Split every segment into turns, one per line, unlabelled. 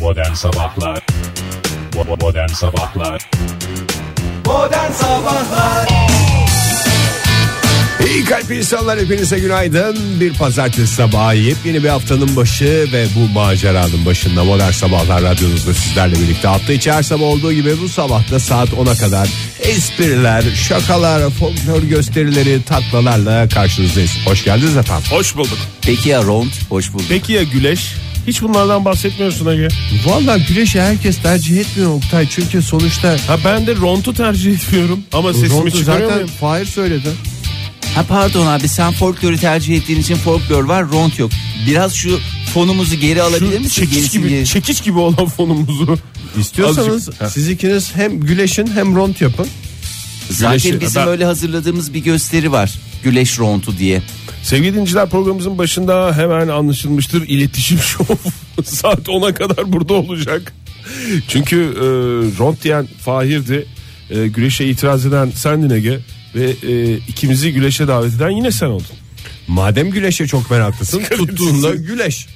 Modern Sabahlar Bo- Modern Sabahlar
Modern Sabahlar
İyi kalp insanlar hepinize günaydın. Bir pazartesi sabahı yepyeni bir haftanın başı ve bu maceranın başında Modern Sabahlar radyonuzda sizlerle birlikte. Hafta içi her sabah olduğu gibi bu sabah da saat 10'a kadar espriler, şakalar, folklor gösterileri, taklalarla karşınızdayız. Hoş geldiniz efendim.
Hoş bulduk.
Peki ya Round hoş bulduk
Peki ya güleş? Hiç bunlardan bahsetmiyorsun Ege.
Vallahi güreşi herkes tercih etmiyor Oktay. Çünkü sonuçta
Ha ben de rontu tercih ediyorum ama sesimi çıkarıyor
zaten
muyum?
Fahir söyledi.
Ha pardon abi sen folkloru tercih ettiğin için folklor var Round yok Biraz şu fonumuzu geri alabilir
Şu
misin?
çekiç
Gerisi
gibi,
geri-
çekiç gibi olan fonumuzu.
İstiyorsanız
Azıcık- Ha.
siz ikiniz hem güleşin hem rond yapın.
Zaten
güleşi-
bizim
Ben-
öyle hazırladığımız bir gösteri var Güleş Round'u diye
Sevgili dinleyiciler programımızın başında hemen anlaşılmıştır. İletişim şovu saat 10'a kadar burada olacak. Çünkü e, ront diyen Fahir'di. E, güreşe itiraz eden sendin Ege. Ve e, ikimizi güreşe davet eden yine sen oldun.
Madem güleşe çok meraklısın tuttuğunda güleş.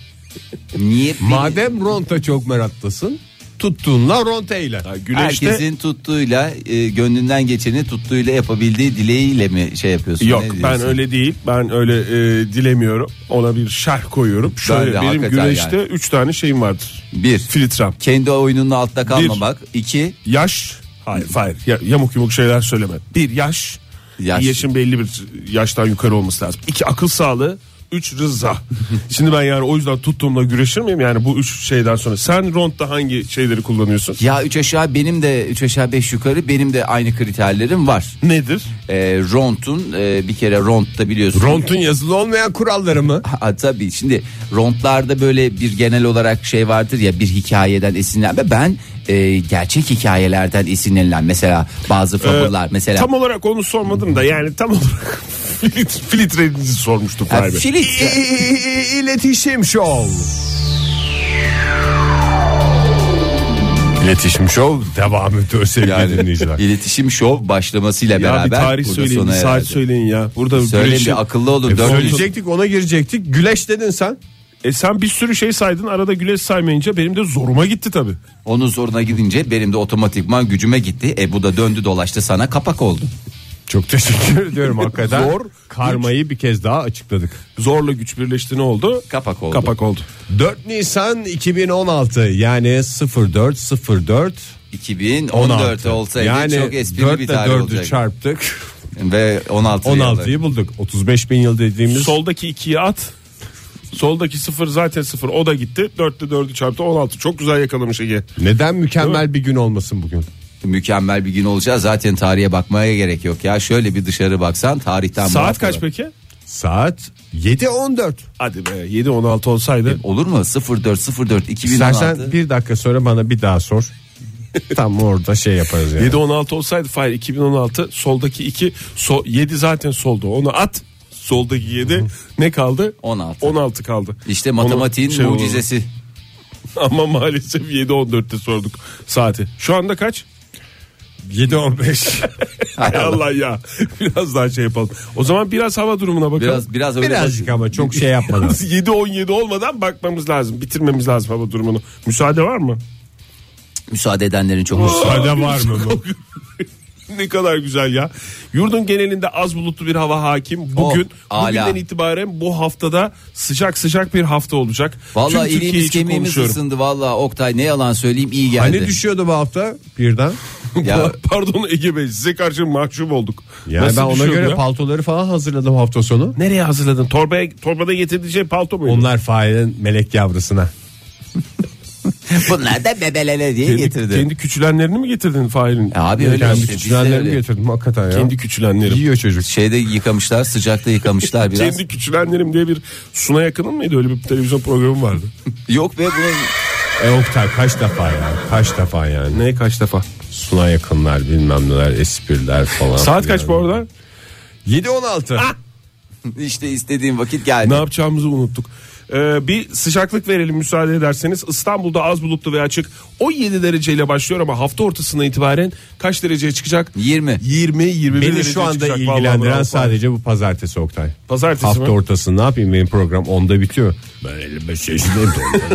Niye?
Madem ronta çok meraklısın tuttuğunla ronta ile.
Güreşte
Herkesin tuttuğuyla e, gönlünden geçeni tuttuğuyla yapabildiği dileğiyle mi şey yapıyorsun?
Yok
Ne
ben
diyorsun?
öyle değil. Ben öyle e, dilemiyorum. Ona bir şerh koyuyorum. Şöyle
de,
benim
hakikaten
güreşte 3 tane şeyim vardır.
Bir.
Filtrem.
Kendi oyununun altta kalmamak. İki.
Yaş. Hayır hayır. Ya- yamuk yumuk şeyler söyleme. Bir yaş.
Yaş.
Yaşın belli bir yaştan yukarı olması lazım. İki akıl sağlığı. Üç rıza. Şimdi ben yani o yüzden tuttuğumla güreşir miyim? Yani bu üç şeyden sonra. Sen rondda hangi şeyleri kullanıyorsun?
Ya üç aşağı benim de üç aşağı beş yukarı benim de aynı kriterlerim var.
Nedir?
e, Ront'un e, bir kere Ront'ta biliyorsun.
Rontun yazılı olmayan kuralları mı?
Ha, tabii şimdi Ront'larda böyle bir genel olarak şey vardır ya bir hikayeden esinlenme. Ben e, gerçek hikayelerden esinlenilen mesela
Ee,
bazı fabullar mesela.
Tam olarak onu sormadım da yani tam olarak filit- filtrenizi sormuştum.
Ya,
Fahir Bey.
Filit.
İletişim Show. İletişim Show devam ediyor sevgili dinleyiciler.
İletişim şov başlamasıyla
Ya
beraber.
bir tarih
burada
söyleyin,
sona
bir saat
erdi.
söyleyin ya. Burada
Söyleyin
güreşi-
bir akıllı olun.
E,
Dört
söyle-
yüz-
Söyleyecektik ona girecektik. Güleş dedin sen.
E sen bir sürü şey saydın arada güleş saymayınca benim de zoruma gitti tabi.
Onun zoruna gidince benim de otomatikman gücüme gitti. E bu da döndü dolaştı sana kapak oldu.
Çok teşekkür ediyorum hakikaten.
Zor,
karmayı bir kez daha açıkladık.
Zorla güç birleşti ne oldu?
Kapak oldu.
Kapak oldu.
4 Nisan 2016 yani 0404
2014 olsaydı
yani
çok esprili
4
bir
ile
tarih
4'ü
olacaktı.
çarptık.
Ve 16 yılı.
16'yı bulduk. 35 bin yıl dediğimiz
Soldaki ikiyi at. Soldaki sıfır zaten sıfır o da gitti. Dörtte dördü çarptı 16 çok güzel yakalamış Ege.
neden mükemmel bir gün olmasın bugün?
Mükemmel bir gün olacak. Zaten tarihe bakmaya gerek yok ya. Şöyle bir dışarı baksan tarihten
Saat
muaf
kaç
olur.
peki?
Saat 7.14.
Hadi be 7 16 olsaydı.
Olur mu? 04 04
İstersen
2016.
bir dakika sonra bana bir daha sor. Tam orada şey yaparız yani.
7 16 olsaydı Fahir 2016 soldaki 2 so, 7 zaten soldu. Onu at. Soldaki 7 ne kaldı?
16.
16 kaldı.
İşte
Onu
matematiğin
şey olur.
mucizesi.
Ama maalesef 7.14'te sorduk saati. Şu anda kaç?
7.15.
Hay
Hay
Allah.
Allah ya. Biraz daha şey yapalım. O zaman biraz hava durumuna bakalım.
Biraz biraz öyle
Birazcık ama çok şey yapmadan.
7-17 olmadan bakmamız lazım. Bitirmemiz lazım hava durumunu. Müsaade var mı?
müsaade edenlerin çok hoşuna.
Müsaade var mı? bu?
ne kadar güzel ya. Yurdun genelinde az bulutlu bir hava hakim. Bugün
Oh, ala.
bugünden itibaren bu haftada sıcak sıcak bir hafta olacak. Tüm
Vallahi
Türkiye
iliğimiz
için
kemiğimiz
konuşuyorum.
ısındı vallahi Oktay ne yalan söyleyeyim iyi geldi.
Hani düşüyordu bu hafta birden?
ya
Pardon Ege Bey size karşı mahcup olduk.
Yani
Nasıl
ben ona
düşüyordu
göre
ya?
paltoları falan hazırladım hafta sonu.
Nereye hazırladın? Torbaya, torbada getirdiği şey palto muydu?
Onlar failin melek yavrusuna.
bunlar da bebelele diye
kendi,
getirdi.
kendi küçülenlerini mi getirdin failin?
Ya abi öyle
Kendi
işte, biz de
küçülenlerimi
öyle.
getirdim hakikaten ya.
Kendi küçülenlerim.
Yiyor çocuk.
Şeyde yıkamışlar sıcakta yıkamışlar biraz.
Kendi küçülenlerim diye bir Suna Yakın'ın mıydı öyle bir televizyon programı vardı.
Yok be bunun
E Oktay kaç defa ya? Kaç defa yani?
Ne kaç defa?
Suna yakınlar bilmem neler espriler falan.
Saat kaç bu arada?
7.16.
işte istediğim vakit geldi.
Ne yapacağımızı unuttuk. Ee, bir sıcaklık verelim müsaade ederseniz. İstanbul'da az bulutlu ve açık 17 dereceyle başlıyor ama hafta ortasına itibaren kaç dereceye çıkacak?
20.
20 21
Beni
dereceye
şu anda
çıkacak. Vallahi
ilgilendiren
bravo.
sadece bu pazartesi Oktay.
Pazartesi
Hafta
mi?
ortası ne yapayım benim program onda bitiyor. Ben elime seçtim.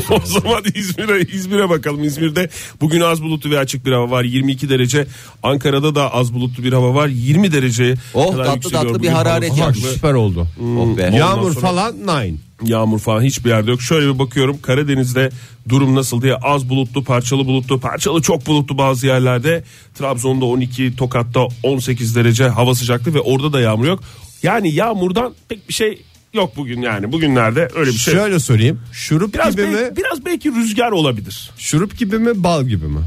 o zaman İzmir'e İzmir'e bakalım. İzmir'de bugün az bulutlu ve açık bir hava var. 22 derece. Ankara'da da az bulutlu bir hava var. 20 derece.
Oh,
kadar
tatlı
yükseliyor
tatlı bir
bugün.
hararet
Hava
yapmış.
sıcaklığı.
Süper oldu.
Oh be.
Yağmur
Hmm. sonra-
falan nine.
Yağmur falan hiçbir yerde yok. Şöyle bir bakıyorum Karadeniz'de durum nasıl diye az bulutlu, parçalı bulutlu, parçalı çok bulutlu bazı yerlerde. Trabzon'da 12, Tokat'ta 18 derece hava sıcaklığı ve orada da yağmur yok. Yani yağmurdan pek bir şey yok bugün yani. Bugünlerde öyle bir şey. yok.
Şöyle sorayım. Şurup
biraz
gibi
bel-
mi?
biraz belki rüzgar olabilir.
Şurup gibi mi bal gibi mi?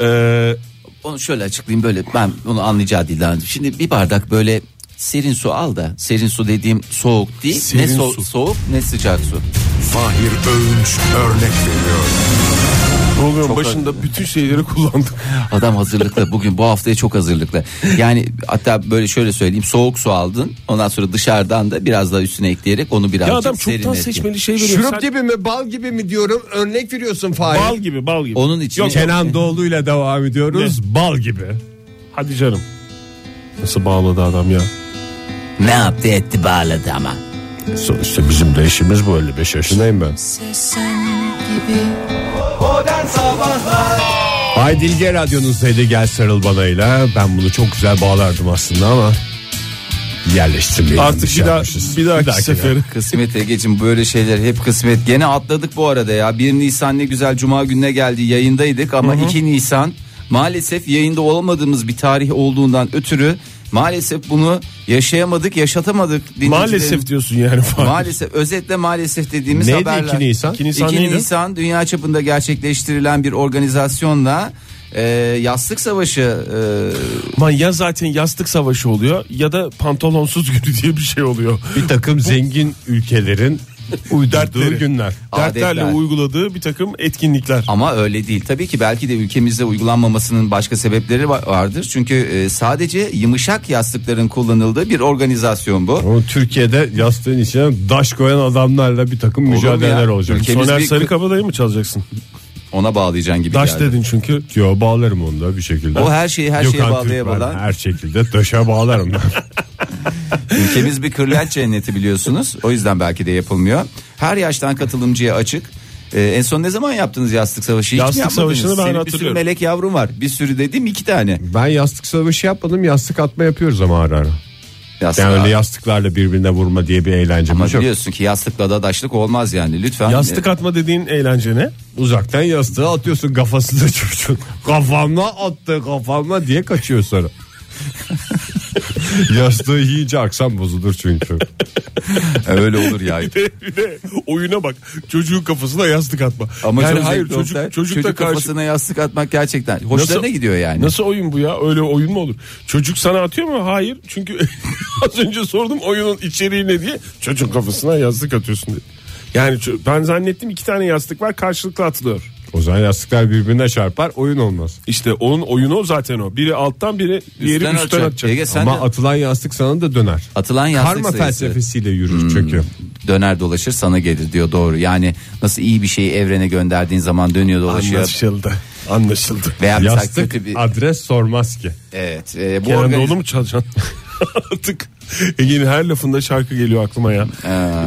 Ee,
Onu şöyle açıklayayım böyle ben onu anlayacağı dilden. Şimdi bir bardak böyle serin su al da serin su dediğim soğuk değil. ne so- soğuk ne sıcak su.
Fahir Öğünç örnek veriyor.
programın başında bütün şeyleri kullandık.
Adam hazırlıklı bugün bu haftaya çok hazırlıklı. Yani hatta böyle şöyle söyleyeyim soğuk su aldın ondan sonra dışarıdan da biraz daha üstüne ekleyerek onu birazcık
Ya adam çoktan
serinletti.
seçmeli şey veriyor.
Şurup
Sen-
gibi mi bal gibi mi diyorum örnek veriyorsun Fahir.
Bal gibi bal gibi.
Onun için
Yok,
Kenan Doğulu ile devam ediyoruz. Bal gibi.
Hadi canım. Nasıl bağladı adam ya?
ne yaptı etti bağladı ama.
Sonuçta bizim de işimiz bu 55 yaşındayım ben.
Sen gibi
Ay Dilge radyonuzdaydı gel sarıl banayla. Ben bunu çok güzel bağlardım aslında ama yerleştirmeyi
Artık
yanlış
bir daha
yapmışız.
bir
Bir
dahaki
dahaki
seferi.
Kısmet Ege'cim böyle şeyler hep kısmet. Gene atladık bu arada ya. 1 Nisan ne güzel cuma gününe geldi yayındaydık ama 2 Nisan maalesef yayında olamadığımız bir tarih olduğundan ötürü maalesef bunu yaşayamadık yaşatamadık. Dinleyicilerim-
Maalesef diyorsun yani.
Maalesef özetle maalesef dediğimiz
Neydi
haberler.
2 Nisan?
2 Nisan
2
neydi?
Nisan dünya çapında gerçekleştirilen bir organizasyonla e, yastık savaşı e,
Man ya zaten yastık savaşı oluyor ya da pantolonsuz günü diye bir şey oluyor.
Bir takım zengin ülkelerin uydurduğu
Dertleri.
günler.
Adetler.
Dertlerle uyguladığı bir takım etkinlikler.
Ama öyle değil. Tabii ki belki de ülkemizde uygulanmamasının başka sebepleri va- vardır. Çünkü e, sadece yumuşak yastıkların kullanıldığı bir organizasyon bu.
Ama Türkiye'de yastığın içine daş koyan adamlarla bir takım mücadeleler
ya?
olacak.
Ülkemiz
Soner
bir-
Sarıkabadayı mı çalacaksın?
Ona bağlayacaksın gibi
Daş
geldi.
dedin çünkü.
Yo bağlarım onu da bir şekilde.
O her şeyi her şeye
Gökhan
bağlaya
Türkmen
bağlar.
Her şekilde daşa bağlarım ben.
Ülkemiz bir kırlent cenneti biliyorsunuz. O yüzden belki de yapılmıyor. Her yaştan katılımcıya açık. E, en son ne zaman yaptınız yastık savaşı? Hiç mi
Yastık
yapmadınız?
savaşını ben
Senin bir sürü
hatırlıyorum.
melek yavrum var. Bir sürü dediğim iki tane.
ben yastık savaşı yapmadım yastık atma yapıyoruz ama ara ara.
Yastık.
Yani öyle yastıklarla birbirine vurma diye bir
Ama
eğlencemiz yok.
biliyorsun ki yastıkla da daşlık olmaz yani. Lütfen.
Yastık atma dediğin eğlence ne?
Uzaktan yastığı atıyorsun kafasına çocuğun. Kafamla attı kafamla diye kaçıyor sonra. Yastığı yiyince aksam bozulur çünkü.
E, öyle olur ya.
bir de oyuna bak. Çocuğun kafasına yastık atma.
Ama
yani
çok
hayır
zevkli
çocuk,
olsa,
çocukla
çocuk
karşı.
kafasına yastık atmak gerçekten hoşlarına
Nasıl-
gidiyor yani.
Nasıl oyun bu ya? Öyle oyun mu olur? Çocuk sana atıyor mu? Hayır. Çünkü az önce sordum oyunun içeriği ne diye. Çocuk kafasına yastık atıyorsun diye. Yani ço- ben zannettim iki tane yastık var karşılıklı atılıyor.
O zaman yastıklar birbirine çarpar oyun olmaz.
İşte onun oyunu o zaten o. Biri alttan biri diğeri
Üstten
üstten,
atacak.
atacak.
Ege sen
Ama
de
atılan yastık sana da döner.
atılan yastık
Karma
sayısı
felsefesiyle yürür çünkü.
döner dolaşır sana gelir diyor doğru. Yani nasıl iyi bir şeyi evrene gönderdiğin zaman dönüyor dolaşıyor.
Anlaşıldı. Anlaşıldı.
Veya mesela
Yastık
kötü bir
adres sormaz ki.
evet e, bu
Kenan
organiz-
Doğulu mu çalacaksın? Artık Ege'nin her lafında şarkı geliyor aklıma ya.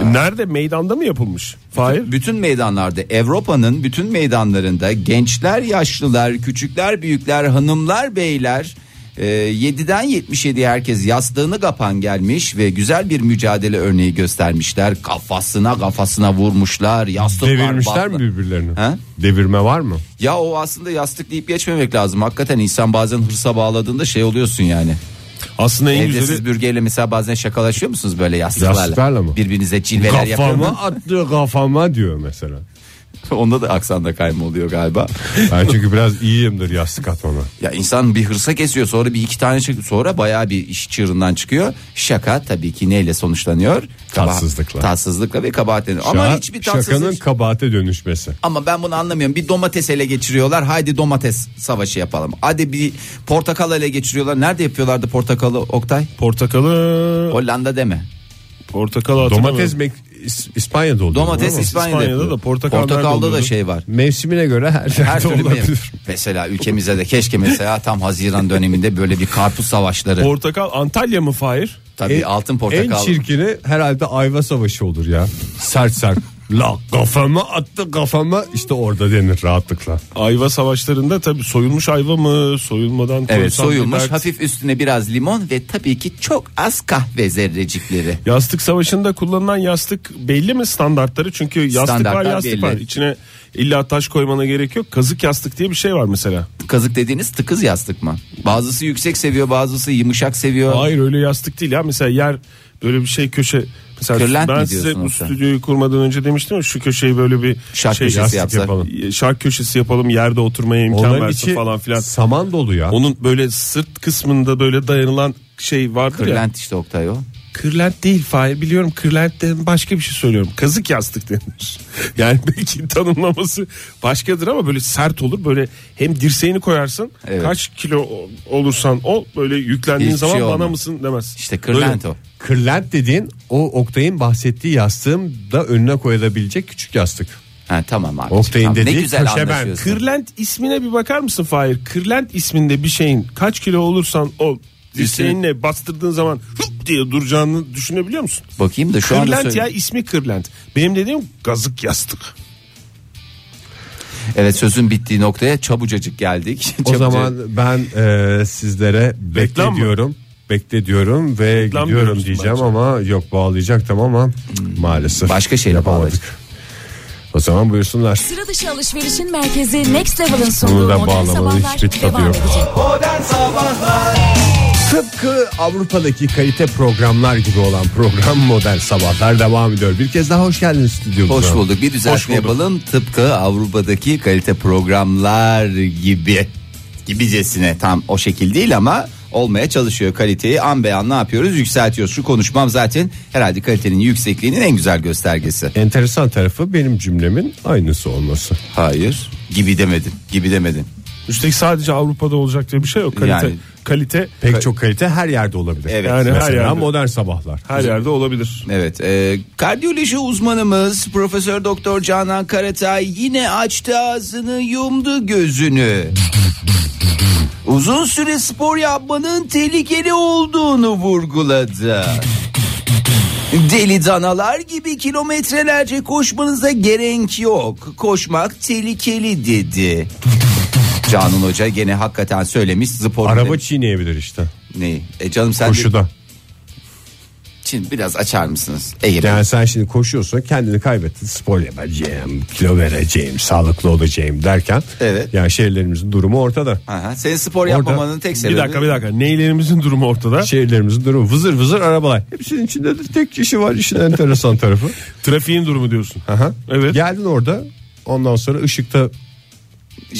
Nerede? Meydanda mı yapılmış? Fahir?
bütün meydanlarda Avrupa'nın bütün meydanlarında gençler, yaşlılar, küçükler, büyükler, hanımlar, beyler e, 7'den 77 herkes yastığını kapan gelmiş ve güzel bir mücadele örneği göstermişler. Kafasına kafasına vurmuşlar. Yastıklar
Devirmişler mi
batlı.
birbirlerini?
Ha?
Devirme var mı?
Ya o aslında yastık deyip geçmemek lazım. Hakikaten insan bazen hırsa bağladığında şey oluyorsun yani.
Aslında en
Evde
güzeli
siz bürgeyle mesela bazen şakalaşıyor musunuz böyle yastıklarla?
Yastıklarla mı?
Birbirinize cilveler yapıyor
Kafama
mu?
attı kafama diyor mesela.
Onda da aksanda kayma oluyor galiba.
Ben çünkü biraz iyiyimdir yastık atmama.
Ya insan bir hırsa kesiyor sonra bir iki tane çıkıyor sonra bayağı bir iş çığırından çıkıyor. Şaka tabii ki neyle sonuçlanıyor? Kaba-
Tatsızlıkla.
Tatsızlıkla ve kabahatleniyor. Ama
Şaka-
hiçbir tatsızlık.
Şakanın kabahate dönüşmesi.
Ama ben bunu anlamıyorum. Bir domates ele geçiriyorlar. Haydi domates savaşı yapalım. Hadi bir portakal ele geçiriyorlar. Nerede yapıyorlardı portakalı Oktay?
portakalı
Hollanda deme.
portakalı
Domates
hatırlamıyorum.
mek- İs- İspanya'da oluyor.
Domates
değil mi?
İspanya'da,
İspanya'da
yapılıyor.
da portakal nerede
portakalda da
oluyordu?
şey var.
Mevsimine göre her,
Her
yerde
türlü meyve.
olabilir.
Mesela ülkemize de keşke mesela tam Haziran döneminde böyle bir karpuz savaşları.
Portakal Antalya mı Fahir?
Tabii
En-
altın portakal.
En çirkini herhalde ayva savaşı olur ya. Sert sert. La kafama attı kafama işte orada denir rahatlıkla.
Ayva savaşlarında tabii soyulmuş ayva mı soyulmadan
Evet
korsan
soyulmuş
biber-
hafif üstüne biraz limon ve tabii ki çok az kahve zerrecikleri.
Yastık savaşında kullanılan yastık belli mi standartları? Çünkü yastık
Standartlar
var yastık
belli.
var. İçine illa taş koymana gerek yok. Kazık yastık diye bir şey var mesela.
Kazık dediğiniz tıkız yastık mı? Bazısı yüksek seviyor bazısı yumuşak seviyor.
Hayır öyle yastık değil ya. Mesela yer böyle bir şey köşe. Mesela
Kırlent
ben
mi
size
diyorsun
bu
sen?
stüdyoyu kurmadan önce demiştim ya şu köşeyi böyle bir
Şark
şey,
köşesi
yastık
yapsak.
yapalım. E, Şark köşesi yapalım yerde oturmaya imkan
Onların
versin
içi
falan filan.
saman dolu ya.
Onun böyle sırt kısmında böyle dayanılan şey vardır ya.
Kırlent işte Oktay o.
Kırlent değil Fahir biliyorum kırlentten başka bir şey söylüyorum. Kazık yastık denir. Yani belki tanımlaması başkadır ama böyle sert olur. Böyle hem dirseğini koyarsın
Evet.
kaç kilo olursan ol böyle yüklendiğin
Hiçbir
zaman
şey
bana
olmaz.
mısın demez.
İşte kırlent
Böyle.
o.
Kırlent dediğin o Oktay'ın bahsettiği yastığın da önüne koyulabilecek küçük yastık.
Ha, tamam abi.
Oktay'ın
Tamam, ne
dediği
güzel
köşeben,
anlaşıyorsun.
Kırlent ismine bir bakar mısın Fahir? Kırlent isminde bir şeyin kaç kilo olursan ol dirseğinle bastırdığın zaman hıp diye duracağını düşünebiliyor musun?
Bakayım da E, şu anda
Kırlent
söyle-
ya ismi kırlent. Benim dediğim gazık yastık.
Evet sözün bittiği noktaya çabucacık geldik.
O
Çabucak-
zaman ben e, sizlere
Reklam mı?
bekle diyorum. Bekle diyorum ve
Reklam
gidiyorum
diyoruz
diyeceğim
bence.
ama yok bağlayacaktım ama maalesef.
Hmm. Başka şeyle bağlayacak.
O zaman buyursunlar.
Sıra dışı alışverişin merkezi Next Level'ın
Bunu
sunduğu
da
modern
bağlamanın
sabahlar
hiçbir tadı
devam
yok.
edecek.
Tıpkı Avrupa'daki kalite programlar gibi olan program Modern Sabahlar devam ediyor. Bir kez daha hoş geldiniz stüdyomuza.
Hoş bulduk. Bir
Hoş
düzeltme
bulduk.
yapalım. Tıpkı Avrupa'daki kalite programlar gibi gibicesine tam o şekil değil ama olmaya çalışıyor kaliteyi an beyan ne yapıyoruz yükseltiyoruz şu konuşmam zaten herhalde kalitenin yüksekliğinin en güzel göstergesi
Enteresan tarafı benim cümlemin aynısı olması.
hayır gibi demedim gibi demedim
Üstelik sadece Avrupa'da olacak diye bir şey yok. Kalite,
Yani-
kalite
Pek çok kalite her yerde olabilir.
Evet.
yani her
Mesela
yerde,
Modern Sabahlar.
her yerde olabilir.
Evet, e, kardiyoloji uzmanımız Profesör Doktor Canan Karatay yine açtı ağzını, yumdu gözünü. Uzun süre spor yapmanın tehlikeli olduğunu vurguladı. Deli danalar gibi kilometrelerce koşmanıza gerek yok. Koşmak tehlikeli dedi. Canan Hoca gene hakikaten söylemiş spor.
Araba çiğneyebilir işte.
Neyi? E canım sen de-
Koşuda.
Şimdi biraz açar mısınız? Ege Bey.
Yani sen şimdi koşuyorsun kendini kaybettin spor yapacağım kilo vereceğim sağlıklı olacağım derken
Evet.
yani şehirlerimizin durumu ortada.
Aha, senin spor yapmamanın tek sebebi.
Bir dakika bir dakika. Neylerimizin durumu ortada.
Şehirlerimizin durumu vızır vızır arabalar. Hepsinin içinde de tek kişi var işin enteresan tarafı.
Trafiğin durumu diyorsun.
Aha.
Evet.
Geldin orada ondan sonra ışıkta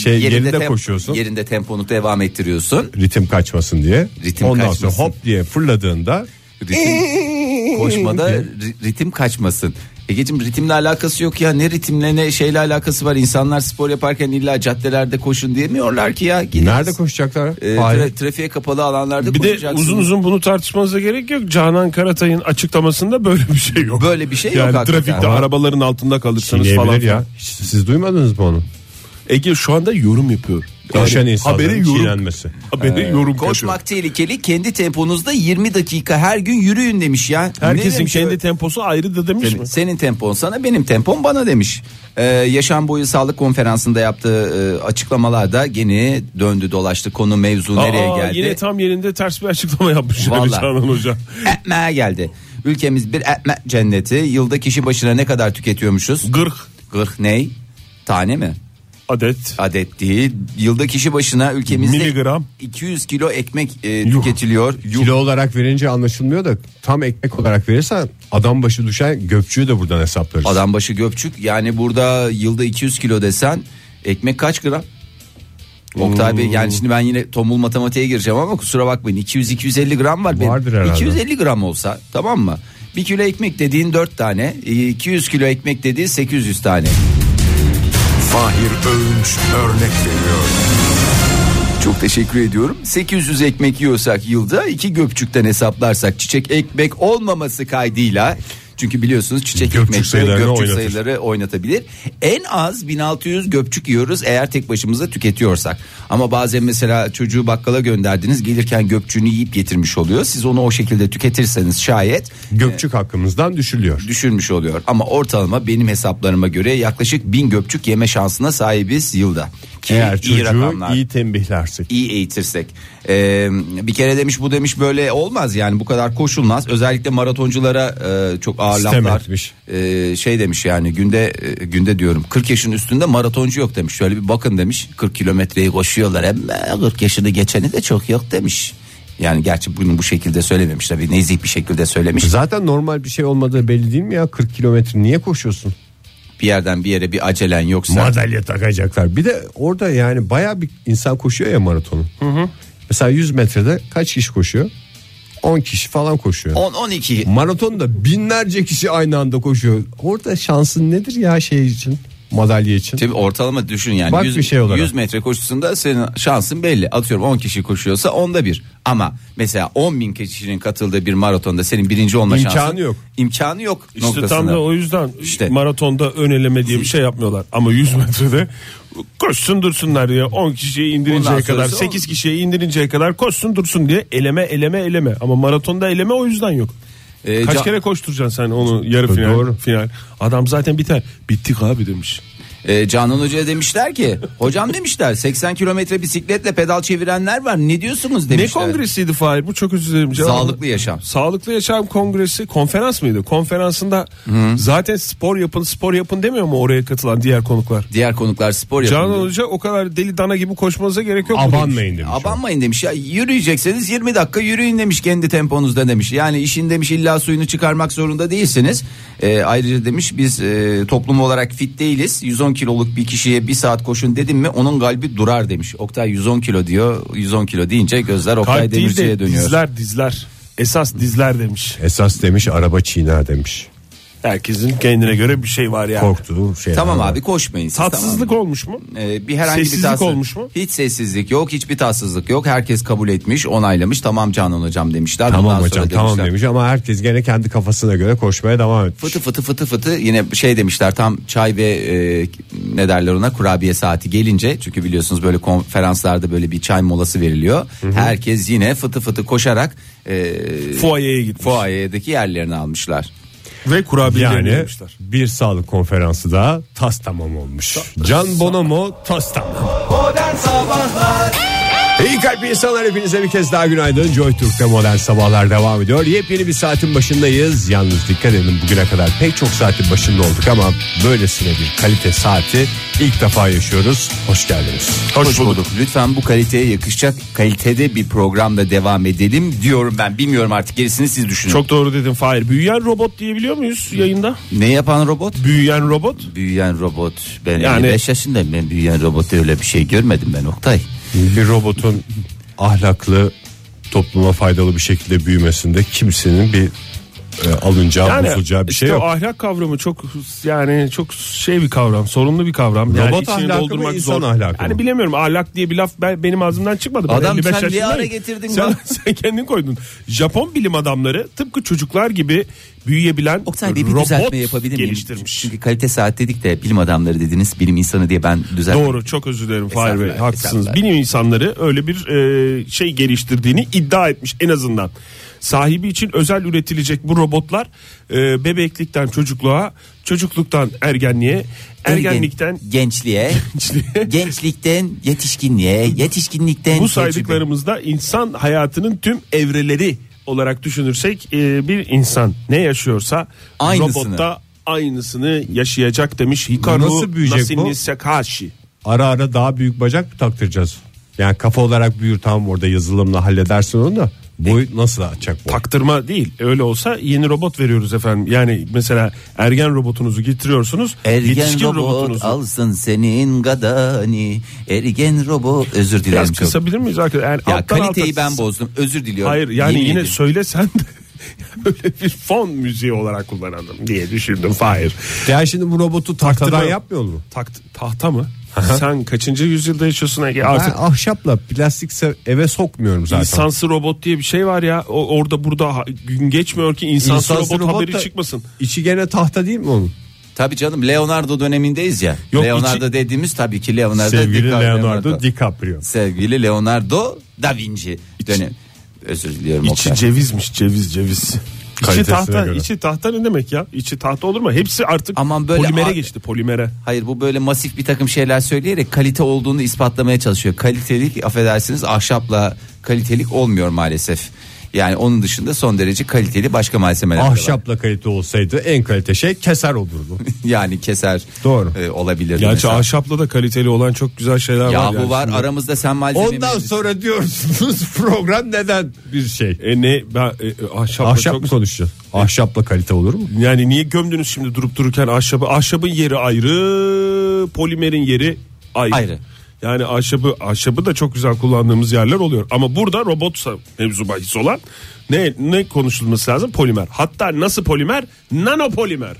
şey yerinde,
tem-
koşuyorsun.
Yerinde temponu devam ettiriyorsun.
ritim kaçmasın diye.
Ritim
ondan
kaçmasın.
sonra hop diye fırladığında
Ritim, koşmada ri- ritim kaçmasın. Egeciğim ritimle alakası yok ya. Ne ritimle ne şeyle alakası var. İnsanlar spor yaparken illa caddelerde koşun diyemiyorlar ki ya. Gidiniz.
nerede koşacaklar?
Ee,
Fahir.
tra- trafiğe kapalı alanlarda
Bir de
koşacaksınız.
uzun uzun bunu tartışmanıza gerek yok. Canan Karatay'ın açıklamasında böyle bir şey yok.
Böyle bir şey yok
yani
hakikaten.
trafikte arabaların altında kalırsanız
Çiğneyebilir
falan.
ya. Hiç- Siz duymadınız mı onu?
Ege şu anda yorum yapıyor.
Koşan insanların
habere yorum,
çiğnenmesi.
Habere yorum
Koşmak tehlikeli. Kendi temponuzda 20 dakika her gün yürüyün demiş ya.
yapıyor.
Ne
Herkesin
demiş
kendi
öyle?
temposu ayrı da demiş mi?
Senin, senin tempon sana benim tempom bana demiş. Ee, yaşam boyu sağlık konferansında yaptığı e, açıklamalarda gene döndü dolaştı konu mevzu nereye
Aa,
geldi.
Yine tam yerinde ters bir açıklama yapmış yani
Vallahi.
Canan Hoca.
Ekmeğe geldi. Ülkemiz bir ekmek cenneti. Yılda kişi başına ne kadar tüketiyormuşuz?
40
40 ney? Tane mi?
adet
Adet değil. Yılda kişi başına ülkemizde
Miligram.
200 kilo ekmek e, tüketiliyor. Yuh.
Kilo olarak verince anlaşılmıyor da tam ekmek olarak verirsen adam başı düşen gökçüğü de buradan hesaplarız.
Adam başı göpçük. Yani burada yılda 200 kilo desen ekmek kaç gram? Oktay Bey
Hmm.
yani şimdi ben yine tombul matematiğe gireceğim ama kusura bakmayın 200-250 gram var. Benim
Vardır herhalde.
250 gram olsa tamam mı? 1 kilo ekmek dediğin 4 tane 200 kilo ekmek dediği 800 tane.
Fahir Öğünç örnek veriyor.
Çok teşekkür ediyorum. 800 ekmek yiyorsak yılda 2 göpçükten hesaplarsak çiçek ekmek olmaması kaydıyla Çünkü biliyorsunuz çiçek
Göpçük
ekmekte
sayılarını
göpçük
oynatır.
sayıları oynatabilir. En az 1600 göpçük yiyoruz eğer tek başımıza tüketiyorsak. Ama bazen mesela çocuğu bakkala gönderdiniz gelirken göpçüğünü yiyip getirmiş oluyor. Siz onu o şekilde tüketirseniz şayet
Gökçük hakkımızdan düşülüyor.
düşürmüş oluyor. Ama ortalama benim hesaplarıma göre yaklaşık 1000 göpçük yeme şansına sahibiz yılda. Ki
Eğer
iyi
çocuğu
rakamlar.
iyi tembihlersek.
iyi eğitirsek. Ee, bir kere demiş bu demiş böyle olmaz yani bu kadar koşulmaz. Özellikle maratonculara e, çok ağır
Sitem
laflar.
etmiş.
Ee, şey demiş yani günde e, günde diyorum 40 yaşın üstünde maratoncu yok demiş. Şöyle bir bakın demiş 40 kilometreyi koşuyorlar ama 40 yaşını geçeni de çok yok demiş. Yani gerçi bunu bu şekilde söylememiş tabii nezih bir şekilde söylemiş.
Zaten normal bir şey olmadığı belli değil mi ya? 40 kilometre niye koşuyorsun?
Bir yerden bir yere bir acelen yoksa.
Madalya takacaklar. Bir de orada yani baya bir insan koşuyor ya maratonu. Mesela 100 metrede kaç kişi koşuyor? 10 kişi falan koşuyor.
10-12
Maratonda binlerce kişi aynı anda koşuyor. Orada şansın nedir ya şey için? Madalya için.
Tabii ortalama düşün yani.
Bak
100,
bir şey olarak.
100 metre koşusunda senin şansın belli. Atıyorum 10 kişi koşuyorsa onda bir. Ama mesela 10 bin kişinin katıldığı bir maratonda senin birinci olma
İmkanı
şansın.
yok.
İmkanı yok
İşte
noktasına.
tam da o yüzden
İşte.
maratonda ön eleme diye bir şey yapmıyorlar. Ama 100 metrede koşsun dursunlar diye 10 kişiye indirinceye
Bundan
kadar
sonrası
8 kişiye indirinceye kadar koşsun dursun diye eleme eleme eleme. Ama maratonda eleme o yüzden yok.
Ee,
Kaç
Can-
kere koşturacaksın sen onu yarı final,
Doğru.
final. Adam zaten biter. Bittik abi demiş.
Ee, Canan Hoca'ya demişler ki hocam demişler 80 kilometre bisikletle pedal çevirenler var ne diyorsunuz demişler.
Ne kongresiydi Fahir? Bu çok özür dilerim. Cevabı-
Sağlıklı yaşam.
Sağlıklı Yaşam Kongresi konferans mıydı? Konferansında zaten spor yapın spor yapın demiyor mu oraya katılan diğer konuklar?
Diğer konuklar spor
Canan
yapın.
Hoca o kadar deli dana gibi koşmanıza gerek yok. mu demiş.
Abanmayın demiş.
Abanmayın demiş ya yürüyecekseniz 20 dakika yürüyün demiş kendi temponuzda demiş. Yani işin demiş illa suyunu çıkarmak zorunda değilsiniz. Ee, ayrıca demiş biz e, toplum olarak fit değiliz. 110 kiloluk bir kişiye bir saat koşun dedim mi onun kalbi durar demiş. Oktay 110 kilo diyor 110 kilo deyince gözler Oktay
Kalp değil
Demirci'ye
de
dönüyor.
dizler dizler. Esas dizler demiş.
Esas demiş araba çiğner demiş.
Herkesin kendine göre bir şey var yani.
Korktuğum şey.
Tamam abi koşmayın siz
Tatsızlık
tamam.
olmuş mu?
Ee, bir herhangi
Sessizlik
bir tatsız-
olmuş mu?
Hiç sessizlik yok, hiçbir tatsızlık yok. Herkes kabul etmiş, onaylamış. Tamam Canan hocam demişler. Bundan
Tamam
sonra
hocam tamam
demişler.
demiş ama herkes gene kendi kafasına göre koşmaya devam etmiş.
Fıtı fıtı fıtı fıtı yine şey demişler tam çay ve e, ne derler ona kurabiye saati gelince çünkü biliyorsunuz böyle konferanslarda böyle bir çay molası veriliyor. Herkes yine fıtı fıtı koşarak e,
Fuayeye gitmiş.
fuayedeki yerlerini almışlar.
Ve kurabiyelerini
Yani
yemişler.
bir sağlık konferansı daha tas tamam olmuş. Can Bonomo tas tamam. İyi kalp insanlar hepinize bir kez daha günaydın. Joy Türk'te modern sabahlar devam ediyor. Yepyeni bir saatin başındayız. Yalnız dikkat edin bugüne kadar pek çok saatin başında olduk ama böylesine bir kalite saati ilk defa yaşıyoruz. Hoş geldiniz.
Hoş, bulduk. Lütfen bu kaliteye yakışacak kalitede bir programla devam edelim diyorum ben. Bilmiyorum artık gerisini siz düşünün.
Çok doğru dedin Fahir. Büyüyen robot diyebiliyor muyuz yayında?
Ne yapan robot?
Büyüyen robot.
Büyüyen robot. Ben
Yani-
55 yaşındayım. Ben büyüyen robotta öyle bir şey görmedim ben Oktay.
Bir robotun ahlaklı topluma faydalı bir şekilde büyümesinde kimsenin bir e, alınacağı, bozulacağı bir şey
işte
yok.
o ahlak kavramı çok yani çok şey bir kavram, sorunlu bir kavram. Yani
Robot
içini
ahlakı mı, insan ahlakı mı?
Yani bilemiyorum ahlak diye bir laf ben, benim ağzımdan çıkmadı. Ben
Adam
55
sen niye
yaşındayım.
ara getirdin
Sen,
lan?
sen kendin koydun. Japon bilim adamları tıpkı çocuklar gibi büyüyebilen
Oktay Bey bir
robot
düzeltme yapabilir miyim?
geliştirmiş.
Çünkü kalite saat dedik de bilim adamları dediniz bilim insanı diye ben düzeltme.
Doğru çok özür dilerim Fahir Bey
Estağfurullah,
haklısınız.
estağfurullah.
Bilim insanları öyle bir e, şey geliştirdiğini iddia etmiş en azından. Sahibi için özel üretilecek bu robotlar e, bebeklikten çocukluğa, çocukluktan ergenliğe, ergenlikten
Ergen- gençliğe, gençlikten yetişkinliğe, yetişkinlikten
bu saydıklarımızda insan hayatının tüm evreleri olarak düşünürsek e, bir insan ne yaşıyorsa
Aynısını.
robotta aynısını yaşayacak demiş Hikaru
Nasıl büyüyecek bu?
Nasini Sakashi.
ara ara daha büyük bacak mı taktıracağız? Yani kafa olarak büyür tamam orada yazılımla halledersin onu da boy nasıl açacak bu?
taktırma değil. Öyle olsa yeni robot veriyoruz efendim. Yani mesela ergen robotunuzu getiriyorsunuz.
Ergen
yetişkin
robot
robotunuzu.
alsın senin gadani. Ergen robot özür dilerim
Biraz
çok.
kısabilir miyiz arkadaşlar? Yani
Ya
alttan alta-
kaliteyi ben bozdum. Özür diliyorum.
Hayır yani
Yemin
yine
ediyorum.
söylesen de böyle bir fon müziği olarak kullanalım diye düşündüm Fahir.
Ya şimdi bu robotu tahtadan
Taktırma-
yapmıyor mu?
Takt, tahta mı? Sen kaçıncı yüzyılda yaşıyorsun Ege?
Ben
Artık
ahşapla plastik se- eve sokmuyorum zaten.
insansı robot diye bir şey var ya. O, orada burada ha- gün geçmiyor ki insansı,
İnsansız
robot, haberi
da-
çıkmasın.
İçi gene tahta değil mi onun?
Tabii canım Leonardo dönemindeyiz ya.
Yok,
Leonardo dediğimiz tabii ki Leonardo
Sevgili
Dica-
Leonardo DiCaprio.
Sevgili Leonardo da Vinci dönemi. Özür diliyorum o
İçi
kadar.
cevizmiş ceviz ceviz. İçi
Kalitesine
tahta,
göre.
içi tahta ne demek ya? İçi tahta olur mu? Hepsi artık
Aman böyle
polimere
a-
geçti polimere.
Hayır bu böyle masif bir takım şeyler söyleyerek kalite olduğunu ispatlamaya çalışıyor. Kalitelik affedersiniz ahşapla kalitelik olmuyor maalesef. Yani onun dışında son derece kaliteli başka malzemeler de var.
Ahşapla kalite olsaydı en kalite şey keser olurdu.
Yani keser
Doğru.
e, olabilir.
Gerçi
mesela.
ahşapla da kaliteli olan çok güzel şeyler var.
Yahu
yani
var
şimdi.
aramızda sen malzeme
Ondan
mühendisi-
sonra diyorsunuz program neden bir şey?
E ne ben e, e, ahşapla
Ahşap
çok
mı konuşacağız? Ahşapla kalite olur mu?
yani niye gömdünüz şimdi durup dururken ahşabı? Ahşabın yeri ayrı, polimerin yeri ayrı.
Ayrı.
Yani ahşabı ahşabı da çok güzel kullandığımız yerler oluyor. Ama burada robotsa mevzu bahis olan ne ne konuşulması lazım? Polimer. Hatta nasıl polimer? Nanopolimer.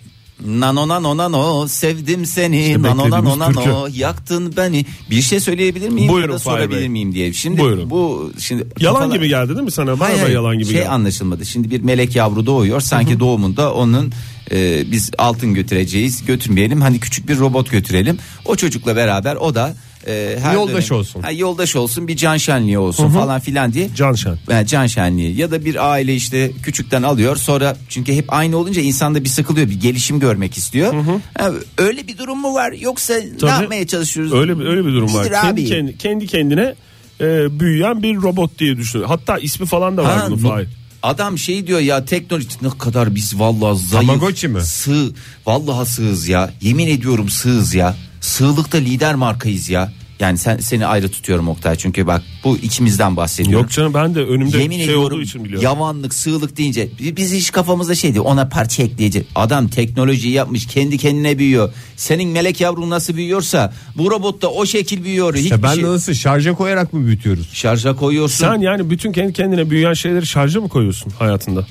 Nano nano nano sevdim seni nano nano nano yaktın beni bir şey söyleyebilir miyim
Buyurun
ya da
Fahir
sorabilir
Bey.
miyim diye. Şimdi
Buyurun.
bu şimdi
Yalan
kafalar-
gibi geldi değil mi sana? Bana
Hayır,
da yalan gibi
şey
geldi.
anlaşılmadı. Şimdi bir melek yavru doğuyor. Sanki doğumunda onun e, biz altın götüreceğiz. Götürmeyelim. Hani küçük bir robot götürelim. O çocukla beraber o da e, her
Yoldaş olsun.
Ha, yoldaş olsun. Bir can şenliği olsun falan filan diye.
Can şen.
Yani can şenliği ya da bir aile işte küçükten alıyor sonra çünkü hep aynı olunca insanda bir sıkılıyor bir gelişim görmek istiyor. Ha, öyle bir durum mu var yoksa ne
Tabii.
yapmaya çalışıyoruz?
Öyle bir öyle bir durum var.
Nedir
Kendi,
abi?
kendi, kendi kendine e, büyüyen bir robot diye düşünüyor. Hatta ismi falan da var
Ha,
bunun
bu-
Fahir.
Adam şey diyor ya teknoloji ne kadar biz vallahi zayıf.
Tamagotchi mi?
Sığ. Vallahi sığız ya. Yemin ediyorum sığız ya. Sığlıkta lider markayız ya. Yani sen seni ayrı tutuyorum Oktay çünkü bak bu ikimizden bahsediyorum.
Yok canım ben de önümde
Yemin
şey
ediyorum
olduğu için biliyorum.
yavanlık sığlık deyince bi- biz hiç kafamızda şeydi ona parça ekleyici adam teknolojiyi yapmış kendi kendine büyüyor. Senin melek yavrun nasıl büyüyorsa bu robot da o şekil büyüyor. Hiçbir
Ya ben
şey.
de nasıl şarja koyarak mı büyütüyoruz?
Şarja koyuyorsun.
Sen yani bütün kendi kendine büyüyen şeyleri şarja mı koyuyorsun hayatında?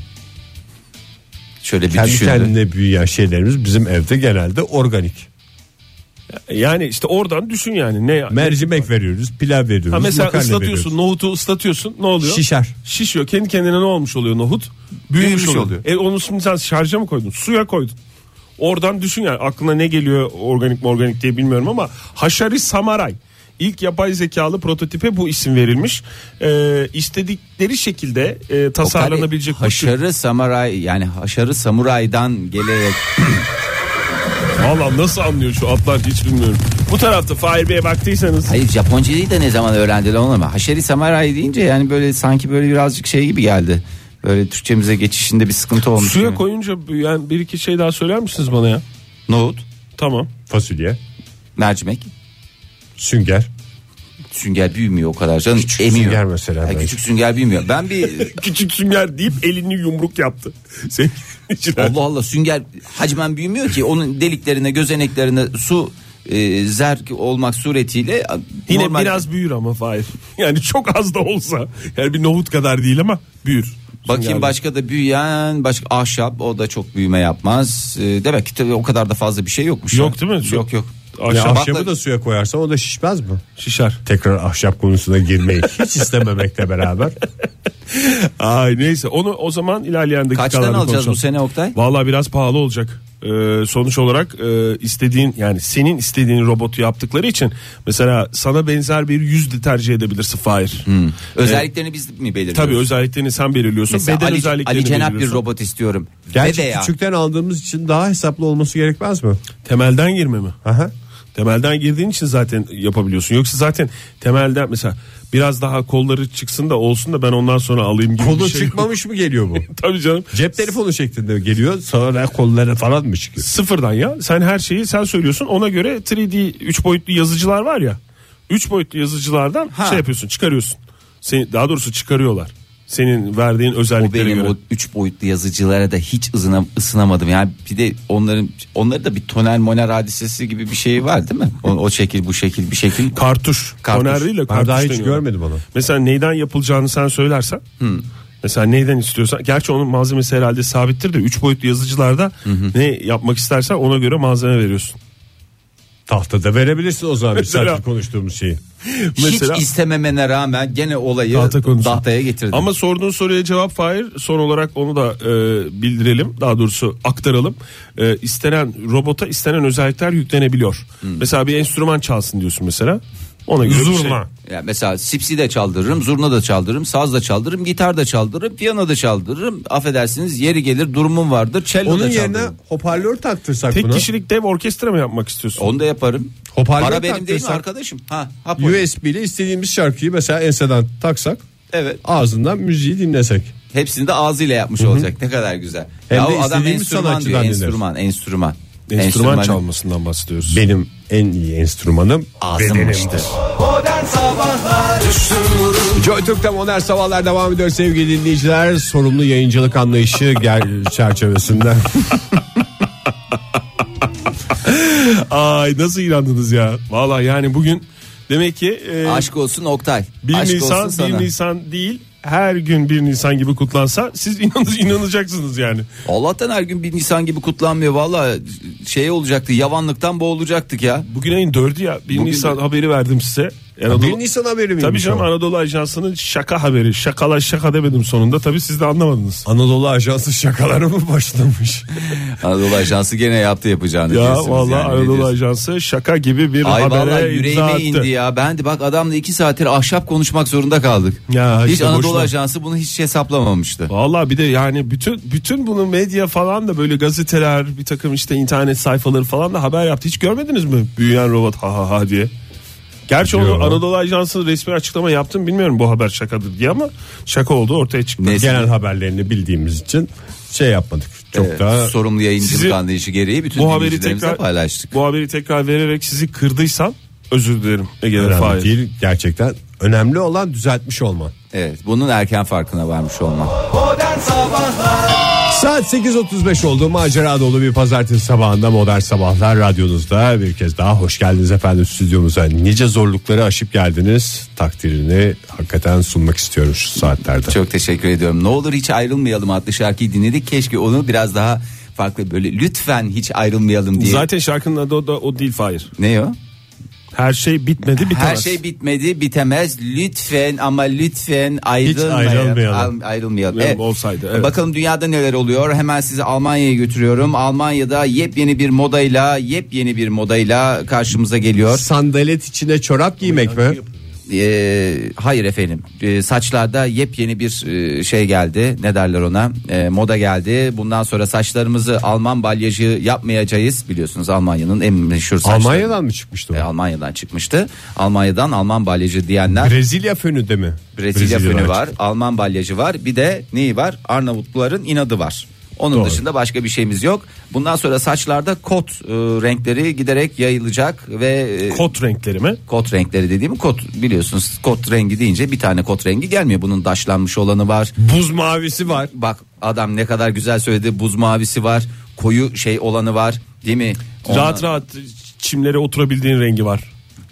Şöyle bir
Kendi
düşündü.
kendine büyüyen şeylerimiz bizim evde genelde organik.
Yani işte oradan düşün yani ne
Mercimek veriyoruz, pilav veriyoruz,
Ha mesela
makarna
ıslatıyorsun
veriyoruz.
nohutu ıslatıyorsun ne oluyor?
Şişer.
Şişiyor. Kendi kendine ne olmuş oluyor nohut? Büyümüş,
Büyümüş
oluyor.
oluyor.
E onu şimdi sen şarja mı koydun? Suya koydun. Oradan düşün yani aklına ne geliyor organik mi organik diye bilmiyorum ama Haşari Samaray ilk yapay zekalı prototipe bu isim verilmiş. Ee, istedikleri şekilde e, tasarlanabilecek şey. bu tür-
haşarı samuray yani haşarı samuraydan gelerek
Valla nasıl anlıyor şu atlar hiç bilmiyorum. Bu tarafta Fahir Bey'e baktıysanız.
hayır Japoncayı da ne zaman öğrendiler onu ama haşarı samuray deyince yani böyle sanki böyle birazcık şey gibi geldi. Böyle Türkçemize geçişinde bir sıkıntı olmuş.
Suya
gibi.
koyunca büyüyen bir iki şey daha söyler misiniz bana ya?
Nohut,
Tamam.
Fasulye,
mercimek,
sünger.
sünger büyümüyor o kadar canım. Küçük
sünger mesela belki.
küçük sünger büyümüyor. Ben bir
Küçük sünger deyip elini yumruk yaptı. Sevgili dinleyiciler.
Allah Allah sünger hacmen büyümüyor ki onun deliklerine gözeneklerine su e, zerk olmak suretiyle
Yine
normal-
biraz büyür ama Fahir. Yani çok az da olsa. Yani bir nohut kadar değil ama büyür.
Bakayım
Sünger.
başka da büyüyen başka ahşap o da çok büyüme yapmaz. Ee, demek ki tabii o kadar da fazla bir şey yokmuş.
Yok
ya.
değil mi? Su-
Yok yok.
Ahşap-
Ya
Bakla-
ahşabı da suya koyarsan o da şişmez mi?
Şişer.
Tekrar ahşap konusuna girmeyi hiç istememekle beraber.
Ay neyse onu o zaman ilerleyen dakikalarda
Kaçtan alacağız
konuşalım.
bu sene Oktay?
Vallahi biraz pahalı olacak. Ee, sonuç olarak e, istediğin yani senin istediğin robotu yaptıkları için mesela sana benzer bir yüz de tercih edebilirsin Fahir.
Hmm. Özelliklerini biz mi belirliyoruz?
Tabii özelliklerini sen belirliyorsun.
Mesela
Beden
Ali,
özelliklerini
Ali Cenap bir
belirliyorsun.
robot istiyorum.
Gerçi
Ve de ya.
küçükten aldığımız için daha hesaplı olması gerekmez mi?
Temelden girme mi?
Aha.
Temelden girdiğin için zaten yapabiliyorsun. Yoksa zaten temelden mesela biraz daha kolları çıksın da olsun da ben ondan sonra alayım gibi
Kolu
bir şey.
çıkmamış mı geliyor bu?
Tabii canım.
Cep telefonu şeklinde geliyor sonra kollara falan mı çıkıyor?
Sıfırdan ya. Sen her şeyi sen söylüyorsun. Ona göre 3D 3 boyutlu yazıcılar var ya. 3 boyutlu yazıcılardan
Ha.
şey yapıyorsun, çıkarıyorsun. Seni daha doğrusu çıkarıyorlar. Senin verdiğin
O
özelliklere
benim
göre.
o üç boyutlu yazıcılara da hiç ızına, ısınamadım. Yani bir de onların onları da bir tonel moner hadisesi gibi bir şey var değil mi? O, o şekil bu şekil bir şekil.
Kartuş.
Kartuş.
Toner değil de
Ben
kartuş
daha hiç
deniyorlar.
görmedim onu.
Mesela neyden yapılacağını sen söylersen Mesela neyden istiyorsan gerçi onun malzemesi herhalde sabittir de 3 boyutlu yazıcılarda ne yapmak istersen ona göre malzeme veriyorsun.
Tahtada verebilirsin o zaman bir
Mesela-
saattir konuştuğumuz şeyi.
Mesela
Hiç istememene rağmen gene olayı
Tahta konusu.
tahtaya getirdin.
ama sorduğun soruya cevap Fahir son olarak onu da e, bildirelim daha doğrusu aktaralım. E, istenen robota istenen özellikler yüklenebiliyor. Mesela bir enstrüman çalsın diyorsun mesela. Ona göre bir şey-
Zurna.
Ya mesela sipsi de çaldırırım, zurna da çaldırırım, saz da çaldırırım, gitar da çaldırırım, piyano da çaldırırım. Affedersiniz yeri gelir durumum vardır. Cello
Onun
da
yerine
çaldırırım.
hoparlör taktırsak
Tek
buna.
kişilik dev orkestra mı yapmak istiyorsun?
Onu da yaparım.
Hoparlör
Para benim değil mi
taktırsak-
arkadaşım? Ha, hap oyunu.
USB ile istediğimiz şarkıyı mesela enseden taksak
Evet.
ağzından müziği dinlesek.
Hepsini de ağzıyla yapmış olacak. Ne kadar güzel.
Hem
ya
de
o adam
istediğimiz
enstrüman diyor.
sanatçıdan dinleriz.
Enstrüman, enstrüman.
Enstrüman
Enstrümanı-
çalmasından bahsediyoruz.
Benim en iyi enstrümanım
Ağzımmıştır.
Joy Türk'te modern sabahlar devam ediyor sevgili dinleyiciler. Sorumlu yayıncılık anlayışı gel çerçevesinde.
Ay nasıl inandınız ya? Valla yani bugün demek ki e,
Aşk olsun Oktay.
1
Aşk
Nisan 1
olsun sana.
Nisan değil her gün 1 Nisan gibi kutlansa siz inan- inanacaksınız yani.
Allah'tan her gün bir Nisan gibi kutlanmıyor. Valla şey olacaktı yavanlıktan boğulacaktık ya.
Bugün ayın 4'ü ya 1
Bugün
Nisan
de-
haberi verdim size.
Bir Nisan haberi miymiş
Tabii canım
o?
Anadolu Ajansı'nın şaka haberi. Şakalaş şaka demedim sonunda. Tabii siz de anlamadınız.
Anadolu Ajansı şakaları mı başlamış?
Anadolu Ajansı gene yaptı yapacağını.
Ya
diyorsunuz
vallahi
yani, ne
Anadolu
diyorsunuz?
Ajansı şaka gibi bir
Ay
habere
vallahi
imza
yüreğime
attı.
indi ya. Ben de bak adamla iki saattir ahşap konuşmak zorunda kaldık.
Ya
hiç
işte
Anadolu
boşuna.
Ajansı bunu hiç hesaplamamıştı.
Valla bir de yani bütün bütün bunu medya falan da böyle gazeteler bir takım işte internet sayfaları falan da haber yaptı. Hiç görmediniz mi? Büyüyen robot ha ha ha diye. Gerçi onu Anadolu Ajansı resmi açıklama yaptım bilmiyorum bu haber şakadır diye ama şaka oldu ortaya çıktı.
Neyse.
Genel haberlerini bildiğimiz için şey yapmadık. Çok
Ee,
Evet,
daha
sorumlu yayıncılık
sizi-
anlayışı gereği bütün
Bu haberi
dinleyicilerimizle
tekrar
paylaştık.
Bu haberi tekrar vererek sizi kırdıysam özür dilerim Ege ve
önemli
Fahir.
değil. Gerçekten önemli olan düzeltmiş olman.
Evet, bunun erken farkına varmış olmak.
Saat 8.35 oldu. Macera dolu bir pazartesi sabahında Modern Sabahlar radyonuzda. Bir kez daha hoş geldiniz efendim stüdyomuza. Nice zorlukları aşıp geldiniz. Takdirini hakikaten sunmak istiyorum şu saatlerde.
Çok teşekkür ediyorum. Ne olur hiç ayrılmayalım adlı şarkıyı dinledik. Keşke onu biraz daha farklı böyle lütfen hiç ayrılmayalım diye.
Zaten şarkının adı o, da, o değil Fahir.
Ne o?
Her şey bitmedi bitemez.
Her şey bitmedi, bitemez. Lütfen ama lütfen
ayrılmayalım.
ayrılmayalım. Al- ayrılmayalım.
Evet, olsaydı, evet.
Bakalım dünyada neler oluyor. Hemen sizi Almanya'ya götürüyorum. Almanya'da yepyeni bir modayla, yepyeni bir modayla karşımıza geliyor.
Sandalet içine çorap giymek mi?
Ee, hayır efendim. Ee, saçlarda yepyeni bir e, şey geldi. Ne derler ona? Ee, moda geldi. Bundan sonra saçlarımızı Alman balyajı yapmayacağız. Biliyorsunuz Almanya'nın en meşhur saçları.
Almanya'dan mı çıkmıştı? o?
E, Almanya'dan çıkmıştı. Almanya'dan Alman balyajı diyenler
Brezilya fönü de mi?
Brezilya fönü
Brezilya'dan
var,
çıktı.
Alman balyajı var. Bir de neyi var? Arnavutluların inadı var. Onun dışında başka bir şeyimiz yok. Bundan sonra saçlarda kot e, renkleri giderek yayılacak ve e,
Kot renklerimi.
kot renkleri dediğim kot biliyorsunuz kot rengi deyince bir tane kot rengi gelmiyor. Bunun daşlanmış olanı var.
Buz mavisi var.
Bak adam ne kadar güzel söyledi. Buz mavisi var. Koyu şey olanı var. Değil mi? Ondan-
Rahat rahat çimlere oturabildiğin rengi var.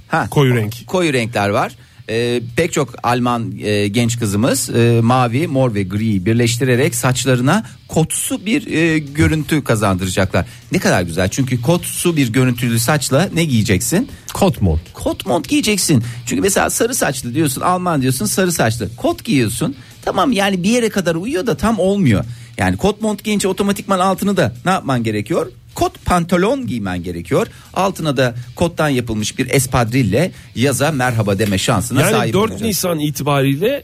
Ha,
Koyu renk.
Koyu renkler var. Ee, pek çok Alman e, genç kızımız e, mavi, mor ve griyi birleştirerek saçlarına kotsu bir e, görüntü kazandıracaklar. Ne kadar güzel. Çünkü kotsu bir görüntülü saçla ne giyeceksin?
Kot mont.
Kot mont giyeceksin. Çünkü mesela sarı saçlı diyorsun, Alman diyorsun, sarı saçlı. Kot giyiyorsun. Tamam yani bir yere kadar uyuyor da tam olmuyor. Yani kot mont giyince otomatikman altını da ne yapman gerekiyor? Kot pantolon giymen gerekiyor. Altına da kottan yapılmış bir espadrille yaza merhaba deme şansına
Yani
sahip
4
olacaksın.
Nisan itibariyle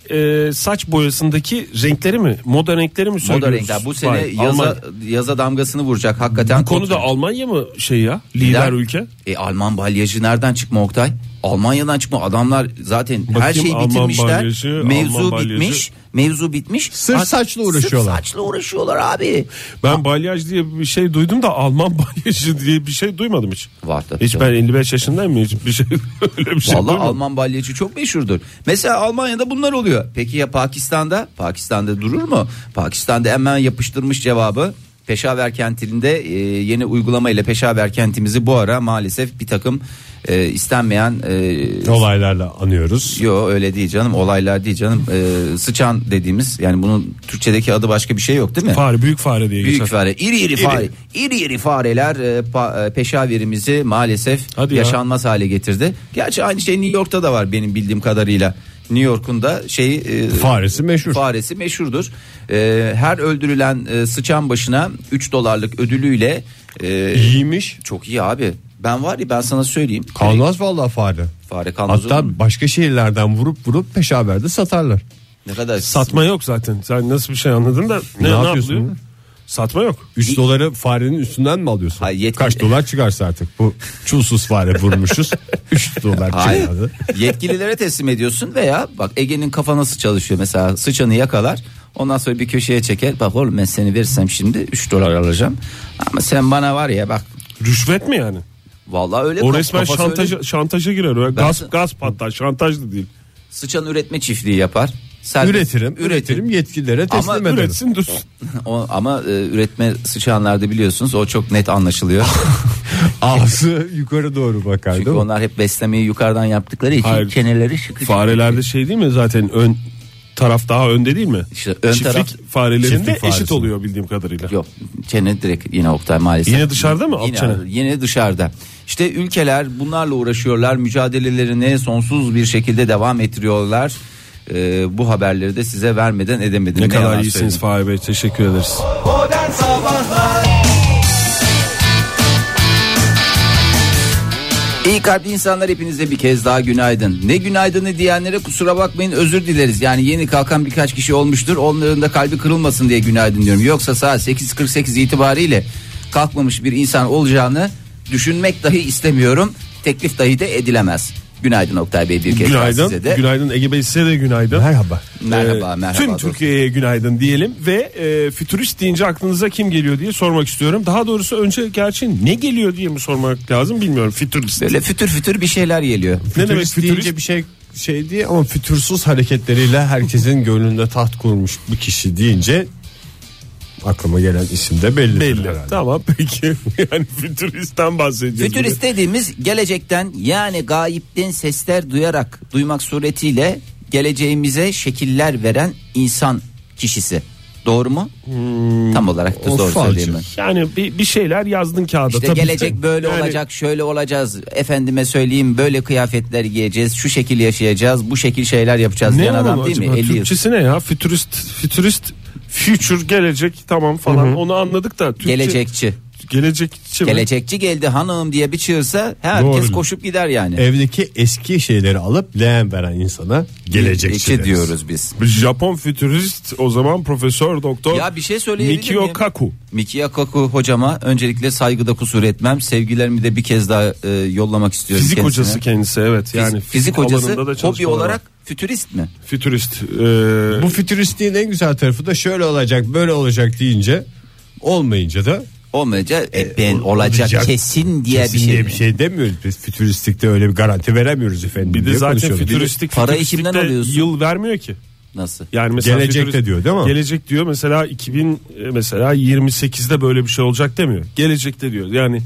e, saç boyasındaki renkleri mi? Moda renkleri mi
Moda
söylüyoruz?
renkler bu sene
Vay,
yaza,
Alman-
yaza damgasını vuracak hakikaten.
Bu konuda Almanya mı şey ya? Lider, ülke.
E, Alman balyajı nereden çıkma Oktay? Almanya'dan çıkma adamlar zaten her
Bakayım,
şeyi
Alman
bitirmişler.
balyajı,
mevzu
Alman balyajı.
bitmiş. Mevzu bitmiş.
Sırf
Ha,
saçla uğraşıyorlar.
Sırf saçla uğraşıyorlar abi.
Ben balyaj diye bir şey duydum da Alman balyajı diye bir şey duymadım hiç.
Var tabii
Hiç
canım.
ben 55 yaşındayım mı? Hiç bir şey öyle bir şey
Vallahi
duymadım.
Alman balyacı çok meşhurdur. Mesela Almanya'da bunlar oluyor. Peki ya Pakistan'da? Pakistan'da durur mu? Pakistan'da hemen yapıştırmış cevabı. Peşaver kentinde e, yeni uygulama ile Peşaver kentimizi bu ara maalesef bir takım e, istenmeyen e,
Olaylarla anıyoruz.
Yo öyle değil canım olaylar değil canım Ee, sıçan dediğimiz yani bunun Türkçedeki adı başka bir şey yok değil mi?
Fare büyük fare diye
Büyük
geçer.
fare iri iri fare iri iri fareler e, pa- e, peşaverimizi maalesef
Hadi ya.
yaşanmaz hale getirdi. Gerçi aynı şey New York'ta da var benim bildiğim kadarıyla. New York'un da şeyi e,
Faresi meşhur.
faresi meşhurdur. Ee, her öldürülen e, sıçan başına 3 dolarlık ödülüyle e,
İyiymiş.
çok iyi abi. Ben var ya ben sana söyleyeyim.
Kalmaz vallahi fare.
Fare kalmaz olur mu?
Hatta başka şehirlerden vurup vurup peşaverde satarlar.
ne kadar
Satma yok zaten. Sen nasıl bir şey anladın da ne, ne,
Ne yapıyorsun
yapılıyor?
bunu?
Satma yok.
3 doları farenin üstünden mi alıyorsun?
Hayır, yetki-
Kaç dolar çıkarsa artık bu çulsuz fare vurmuşuz. 3 dolar
Hayır.
çıkardı.
Yetkililere teslim ediyorsun veya bak Ege'nin kafa nasıl çalışıyor mesela sıçanı yakalar ondan sonra bir köşeye çeker bak oğlum ben seni versem şimdi 3 dolar alacağım ama sen bana var ya bak
Rüşvet mi yani?
vallahi öyle
O
kaf-
resmen
kafası öyle.
şantaja, şantaja girer. o.
de-
Gasp, gasp hatta şantaj da değil.
sıçan üretme çiftliği yapar. Serbest-
Üretirim, üretirim yetkililere teslim
Ama
ederim.
Üretsin dursun.
O, ama e, üretme sıçanlarda biliyorsunuz o çok net anlaşılıyor.
Ağzı yukarı doğru bakar
Çünkü
değil mi?
onlar hep beslemeyi yukarıdan yaptıkları için
Hayır.
çeneleri şıkır.
Farelerde şey değil mi zaten ön taraf daha önde değil mi?
İşte ön
Çiftlik
taraf-
farelerinde
Çiftlik faresi.
eşit oluyor bildiğim kadarıyla.
Yok çene direkt yine Oktay maalesef.
Yine dışarıda mı? Alt
Yine,
çene.
yine dışarıda. İşte ülkeler bunlarla uğraşıyorlar. Mücadelelerini sonsuz bir şekilde devam ettiriyorlar. Ee, bu haberleri de size vermeden edemedim.
Ne kadar
yalan
iyisiniz
söyleyeyim.
Fahri Bey teşekkür ederiz.
İyi kalpli insanlar hepinize bir kez daha günaydın. Ne günaydını diyenlere kusura bakmayın özür dileriz. Yani yeni kalkan birkaç kişi olmuştur. Onların da kalbi kırılmasın diye günaydın diyorum. Yoksa saat 8.48 itibariyle kalkmamış bir insan olacağını düşünmek dahi istemiyorum. Teklif dahi de edilemez. Günaydın Oktay Bey bir kez daha
Günaydın.
size de.
Günaydın Ege Bey size de günaydın.
Merhaba.
Merhaba,
Ee,
merhaba
Tüm
dostum.
Türkiye'ye günaydın diyelim ve e, fütürist deyince aklınıza kim geliyor diye sormak istiyorum. Daha doğrusu önce gerçi ne geliyor diye mi sormak lazım bilmiyorum. Fütürist.
Böyle fütür fütür bir şeyler geliyor.
Ne demek
Fütürist deyince
fütürist?
bir şey şey diye ama fütursuz hareketleriyle herkesin gönlünde taht kurmuş bir kişi deyince aklıma gelen isim de belli.
Belli. Tamam peki. yani fütüristten bahsediyoruz.
Fütürist dediğimiz gelecekten yani gayipten sesler duyarak duymak suretiyle geleceğimize şekiller veren insan kişisi. Doğru mu?
Hmm,
Tam olarak da doğru
falcı.
söyleyeyim ben.
Yani bir, bir şeyler yazdın kağıda.
İşte
tabii.
gelecek böyle
Yani
olacak, şöyle olacağız. Efendime söyleyeyim böyle kıyafetler giyeceğiz, şu şekil yaşayacağız, bu şekil şeyler yapacağız
Ne
diyen adam
onun
değil
acaba?
mi? 50 yıl.
Türkçesi ne ya? Fütürist, fütürist, future, gelecek tamam falan. Onu anladık da. Türkçe,
Gelecekçi.
Gelecekçi mi?
Gelecekçi geldi hanım diye bir çığırsa herkes
Doğru.
koşup gider yani.
E,
Evdeki eski şeyleri alıp leğen veren insana gelecekçi
Gelecekçi
deriz.
diyoruz biz.
Japon fütürist o zaman profesör doktor
Ya bir şey söyleyebilir
Mikio
miyim?
Kaku.
Mikiya Kaku hocama öncelikle saygıda kusur etmem. Sevgilerimi de bir kez daha e, yollamak istiyorum
Fizik
kendisine.
hocası kendisi evet.
Fiz-
Yani
fizik, hocası
alanında da
hobi
çalışmaları var.
olarak fütürist mi?
fütürist. e,
Bu fütüristliğin en güzel tarafı da şöyle olacak böyle olacak deyince olmayınca da
Olmayacak e, ben olacak, kesin diye
kesin
bir şey.
diye bir şey demiyoruz. Biz fütüristlikte öyle bir garanti veremiyoruz efendim.
bir de
diye
zaten
konuşuyoruz.
fütüristik
Parayı
fütüristlikte
kimden alıyorsun?
yıl vermiyor ki.
Nasıl?
Yani mesela
Gelecekte
fütürist-
diyor değil mi?
Gelecek diyor mesela 2000 e, mesela 28'de böyle bir şey olacak demiyor. Gelecekte diyor. Yani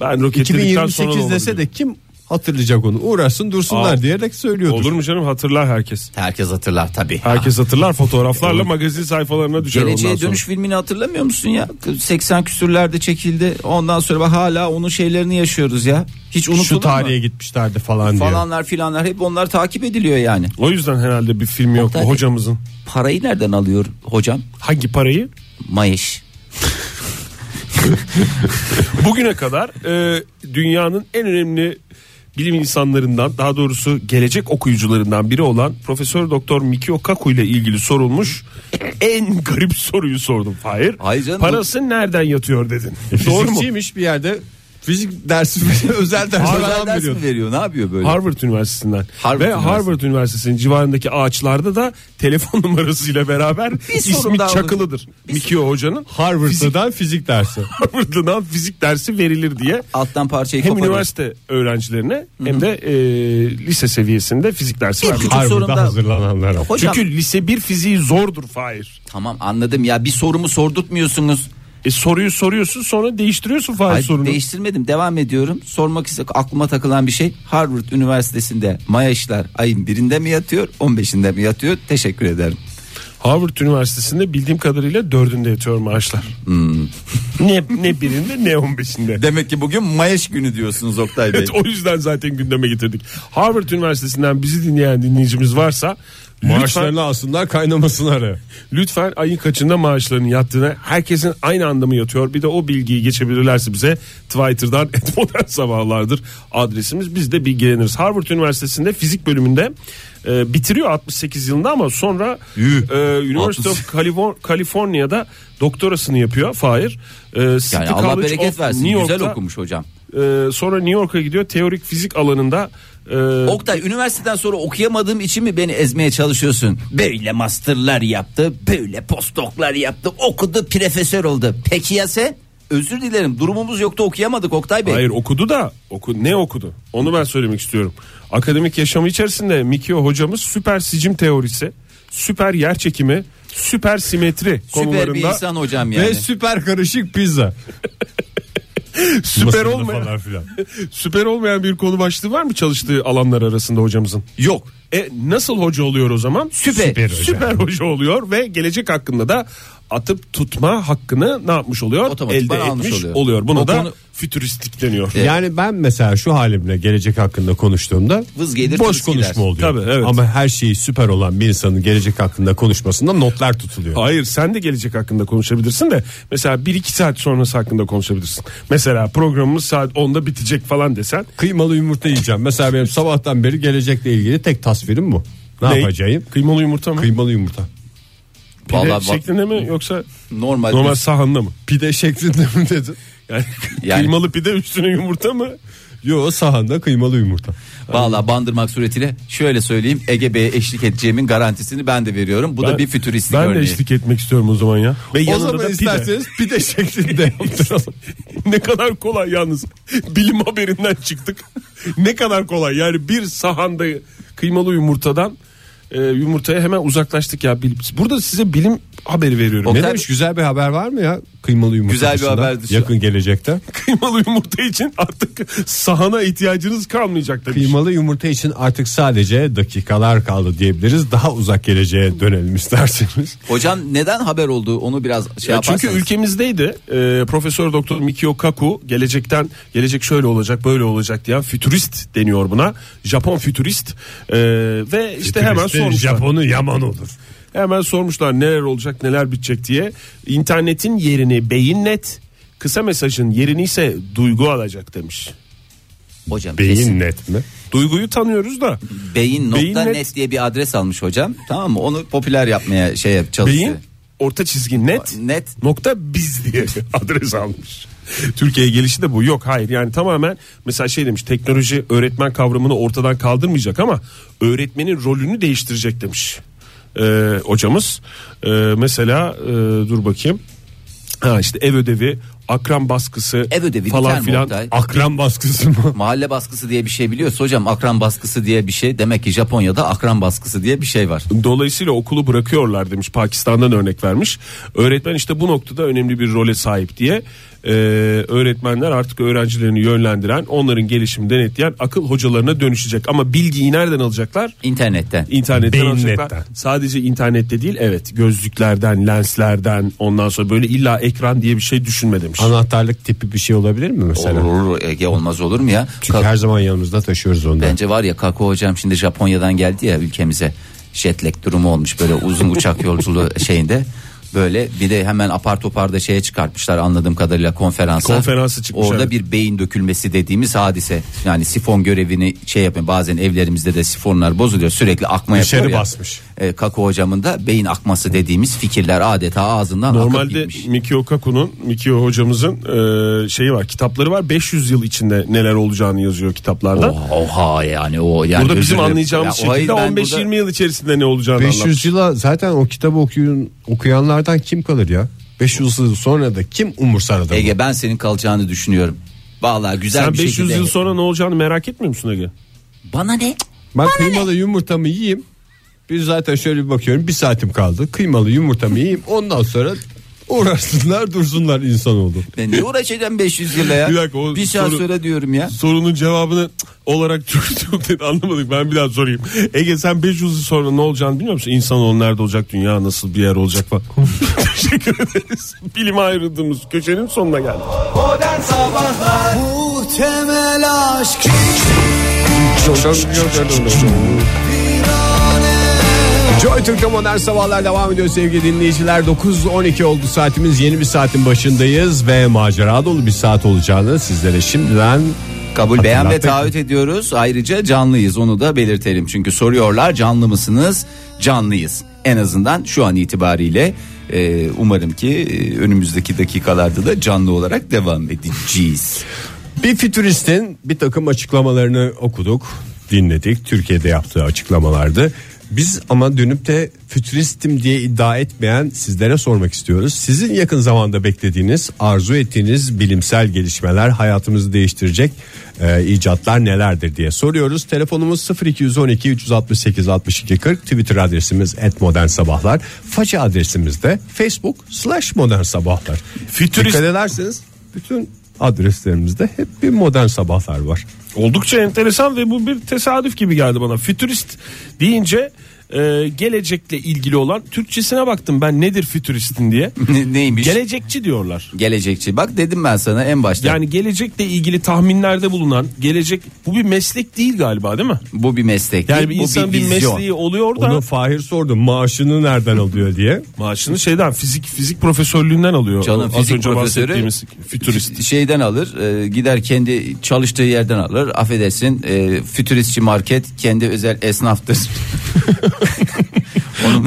ben roketledikten sonra
2028 dese de kim hatırlayacak onu uğraşsın dursunlar
Aa,
diyerek söylüyordur.
Olur mu canım hatırlar herkes.
Herkes hatırlar tabii.
Ah.
Herkes hatırlar fotoğraflarla magazin sayfalarına düşer
Geleceğe
ondan
dönüş filmini hatırlamıyor musun ya? 80 küsürlerde çekildi. Ondan sonra bak hala onun şeylerini yaşıyoruz ya. Hiç unutulur
Şu
mu?
tarihe gitmişlerdi falan, diye.
falanlar filanlar hep onlar takip ediliyor yani.
sonra. O yüzden herhalde bir film yok bu
Oktay-
hocamızın.
Parayı nereden alıyor hocam?
Hangi parayı?
Mayış.
Bugüne kadar e, dünyanın en önemli bilim insanlarından daha doğrusu gelecek okuyucularından biri olan Profesör Doktor Mikio Kaku ile ilgili sorulmuş en garip soruyu sordum Fahir.
Hayır canım, E,
Parası nereden yatıyor dedin. Doğru mu?
Fizikçiymiş bir yerde fizik dersi özel ders
Özel
falan
ders mi
veriyordu.
veriyor? Ne yapıyor böyle?
Harvard Üniversitesi'nden
Harvard
ve
Üniversitesi.
Harvard Üniversitesi'nin civarındaki ağaçlarda da telefon numarasıyla beraber
sorun
ismi
daha olacak.
çakılıdır. Mikio hocanın
Harvard'dan fizik dersi.
Harvard'dan fizik dersi verilir diye
Alttan parçayı
hem
koparıyor.
üniversite öğrencilerine hem de e, lise seviyesinde fizik dersi
Bir
vermiş.
küçük sorun
Harvard'da
da-
hazırlananlara.
Hocam
Çünkü lise 1 fiziği zordur Fahir.
tamam anladım ya bir sorumu sordurtmuyorsunuz.
E soruyu soruyorsun sonra değiştiriyorsun Fahir
Ay,
sorunu.
değiştirmedim devam ediyorum. Sormak istedim aklıma takılan bir şey Harvard Üniversitesi'nde Mayaşlar ayın birinde mi yatıyor 15'inde mi yatıyor teşekkür ederim.
Harvard Üniversitesi'nde bildiğim kadarıyla dördünde yatıyor maaşlar. ne, ne birinde ne on beşinde.
Demek ki bugün Mayaş günü diyorsunuz Oktay Bey.
Evet, o yüzden zaten gündeme getirdik. Harvard Üniversitesi'nden bizi dinleyen dinleyicimiz varsa
Maaşlarını alsınlar kaynamasını ara.
Lütfen ayın kaçında maaşlarının yattığına herkesin aynı anda mı yatıyor? Bir de o bilgiyi geçebilirlerse bize Twitter'dan etmodern sabahlardır adresimiz. Biz de bilgileniriz. Harvard Üniversitesi'nde fizik bölümünde e, bitiriyor 68 yılında ama sonra
Yuh.
e, University of Californ- California'da doktorasını yapıyor Fahir. E, City
Yani Allah
College
bereket
of
versin
New
güzel
York'ta,
okumuş hocam.
e, sonra New York'a gidiyor teorik fizik alanında. e,
Oktay üniversiteden sonra okuyamadığım için mi beni ezmeye çalışıyorsun? Böyle masterlar yaptı, böyle postdoklar yaptı, okudu, profesör oldu. Peki ya sen? Özür dilerim durumumuz yoktu okuyamadık Oktay Bey.
Hayır okudu da oku, ne okudu? Onu ben söylemek istiyorum. Akademik yaşamı içerisinde Mikio hocamız süper sicim teorisi, süper yer çekimi, süper simetri
Süper bir
konularında
insan hocam yani.
Ve süper karışık pizza.
süper
Masada
olmayan
falan filan.
süper olmayan bir konu başlığı var mı çalıştığı alanlar arasında hocamızın?
Yok.
E nasıl hoca oluyor o zaman?
Süper.
Süper hoca, Süper hoca oluyor ve gelecek hakkında da atıp tutma hakkını ne yapmış oluyor?
Otomatikman
Elde
almış
etmiş
oluyor.
oluyor. Buna
O
da
konu-
fütüristik deniyor.
Evet.
Yani ben mesela şu halimle gelecek hakkında konuştuğumda
Vız gelir,
boş
tırıs
konuşma
gider.
oluyor.
Tabii, evet.
Ama her şeyi süper olan bir insanın gelecek hakkında konuşmasında notlar tutuluyor.
Hayır sen de gelecek hakkında konuşabilirsin de mesela 1-2 saat sonrası hakkında konuşabilirsin. Mesela programımız saat 10'da bitecek falan desen
Kıymalı yumurta yiyeceğim. Mesela benim sabahtan beri gelecekle ilgili tek tasvirim bu. Ne,
ne?
yapacağım?
Kıymalı yumurta mı?
Kıymalı yumurta.
Pide
Vallahi bak-
şeklinde mi yoksa
Normal.
normal sahanda mı?
Pide şeklinde mi dedin?
Yani,
Yani-
kıymalı pide üstüne yumurta mı?
Yo sahanda kıymalı yumurta.
Valla bandırmak suretiyle şöyle söyleyeyim Ege Bey'e eşlik edeceğimin garantisini ben de veriyorum. Bu da bir fütüristik
ben
örneği.
de eşlik etmek istiyorum o zaman ya. Ve
O
yanında da
zaman
pide.
isterseniz pide, şeklinde yaptıralım.
ne kadar kolay yalnız. Bilim haberinden çıktık. ne kadar kolay. Yani bir sahanda kıymalı yumurtadan e, yumurtaya hemen uzaklaştık ya. Bil- Burada size bilim haberi veriyorum.
Oktay-
ne demiş güzel bir haber var mı ya? Kıymalı yumurta
Güzel bir
dışında,
haberdi şu-
Yakın gelecekte.
kıymalı yumurta için artık sahana ihtiyacınız kalmayacak demiş.
Kıymalı yumurta için artık sadece dakikalar kaldı diyebiliriz. Daha uzak geleceğe dönelim isterseniz.
Hocam neden haber oldu onu biraz şey
Ya
yaparsanız.
çünkü ülkemizdeydi e, Profesör Doktor Mikio Kaku gelecekten gelecek şöyle olacak böyle olacak diyen fütürist deniyor buna Japon fütürist e, ve işte hemen
Fütüristin
sormuşlar.
Japonu yaman olur.
Hemen sormuşlar neler olacak neler bitecek diye. İnternetin yerini beyinnet, kısa mesajın yerini ise duygu alacak demiş.
hocam kesin.
Beyin net mi?
Duyguyu tanıyoruz da
Beyin
Beyin
nokta
net-
net diye bir adres almış hocam. Tamam mı? Onu popüler yapmaya şey yap çalışıyor.
beyin orta çizgi net
Net
nokta biz diye adres almış. Türkiye'ye gelişi de bu. Yok hayır yani tamamen mesela şey demiş teknoloji öğretmen kavramını ortadan kaldırmayacak ama öğretmenin rolünü değiştirecek demiş ee, hocamız. Ee, mesela e, dur bakayım. Ha işte ev ödevi, akran baskısı
Ev ödevi biter
falan
mi
filan.
Oktay?
Akran baskısı mı?
mahalle baskısı diye bir şey biliyorsa hocam akran baskısı diye bir şey. Demek ki Japonya'da akran baskısı diye bir şey var.
Dolayısıyla okulu bırakıyorlar demiş Pakistan'dan örnek vermiş. Öğretmen işte bu noktada önemli bir role sahip diye Ee, öğretmenler artık öğrencilerini yönlendiren onların gelişimini denetleyen akıl hocalarına dönüşecek. Ama bilgiyi nereden alacaklar?
İnternetten.
İnternetten
Beyinnetten.
alacaklar. Sadece internette değil evet gözlüklerden lenslerden ondan sonra böyle illa ekran diye bir şey düşünme demiş.
Anahtarlık tipi bir şey olabilir mi mesela?
Olur, olur Ege olmaz olur mu ya?
Çünkü
Kalk-
her zaman yanımızda taşıyoruz onu.
Bence var ya Kako hocam şimdi Japonya'dan geldi ya ülkemize. Jet lag durumu olmuş böyle uzun uçak yolculuğu şeyinde. Böyle bir de hemen apar topar da şeye çıkartmışlar anladığım kadarıyla konferansa.
Konferansı çıkmış,
Orada
evet.
bir beyin dökülmesi dediğimiz hadise. Yani sifon görevini şey yapın bazen evlerimizde de sifonlar bozuluyor sürekli akma
Dışarı
yapıyor ya.
basmış.
E, Kako hocamın da beyin akması dediğimiz fikirler adeta ağzından akıp
Normalde
gitmiş.
Mikio Kaku'nun, Mikio hocamızın e, şeyi var, kitapları var. 500 yıl içinde neler olacağını yazıyor kitaplarda.
Oha, oha yani o yani
Burada
özür
bizim
dilerim.
anlayacağımız
Ya, o hayır,
şekilde
ben
15-20
burada-
yıl içerisinde ne olacağını
500
500
yıla zaten o kitabı okuyun, okuyanlardan kim kalır ya? 500 yıl sonra da kim umursar adamı?
Ege ben senin kalacağını düşünüyorum. Vallahi güzel
Sen
bir
500
şekilde.
yıl sonra ne olacağını merak etmiyor musun Ege?
Bana ne?
Ben kıymalı yumurtamı yiyeyim. Bir zaten şöyle bir bakıyorum bir saatim kaldı. Kıymalı yumurtamı yiyeyim. Ondan sonra Uğraşsınlar dursunlar insan oldu.
Ben ne uğraşacağım 500 yıla ya?
Bir dakika, o
bir saat
soru-
sonra diyorum ya.
Sorunun cevabını cık olarak çok çok dedi anlamadık. Ben bir daha sorayım. Ege sen 500 yıl sonra ne olacağını biliyor musun? İnsanoğlu nerede olacak? Dünya nasıl bir yer olacak falan. Teşekkür ederiz. Bilim ayrıldığımız köşenin sonuna geldik.
Muhtemel aşk
Joy Türk'te modern sabahlar devam ediyor sevgili dinleyiciler. 9.12 oldu saatimiz yeni bir saatin başındayız ve macera dolu bir saat olacağını sizlere şimdiden
Kabul beyan ve
Hatırlattık.
taahhüt ediyoruz. Ayrıca canlıyız onu da belirtelim. Çünkü soruyorlar canlı mısınız? Canlıyız. En azından şu an itibariyle Ee, umarım ki e, önümüzdeki dakikalarda da canlı olarak devam edeceğiz.
bir fütüristin bir takım açıklamalarını okuduk, dinledik. Türkiye'de yaptığı açıklamalardı. Biz ama dönüp de fütüristim diye iddia etmeyen sizlere sormak istiyoruz. Sizin yakın zamanda beklediğiniz, arzu ettiğiniz bilimsel gelişmeler hayatımızı değiştirecek e, icatlar nelerdir diye soruyoruz. Telefonumuz 0212 368 62 40 Twitter adresimiz et modern sabahlar. Faça adresimiz de facebook slash modern sabahlar.
Fütürist-
Dikkat ederseniz bütün adreslerimizde hep bir modern sabahlar var.
Oldukça enteresan ve bu bir tesadüf gibi geldi bana. Fütürist deyince e, gelecekle ilgili olan Türkçesine baktım ben nedir fütüristin diye.
Ne- Neymiş?
şey- Gelecekçi diyorlar.
Gelecekçi. Bak dedim ben sana en başta.
Yani gelecekle ilgili tahminlerde bulunan gelecek bu bir meslek değil galiba değil mi?
bu bir meslek.
Yani
değil,
bir
bu
insan bir,
vizyon.
mesleği oluyor da
Onu Fahir sordu maaşını nereden alıyor diye.
maaşını şeyden fizik fizik profesörlüğünden alıyor.
Canım
Az
fizik
önce
profesörü
bahsettiğimiz fütürist.
şeyden alır e, gider kendi çalıştığı yerden alır affedersin e, fütüristçi market kendi özel esnaftır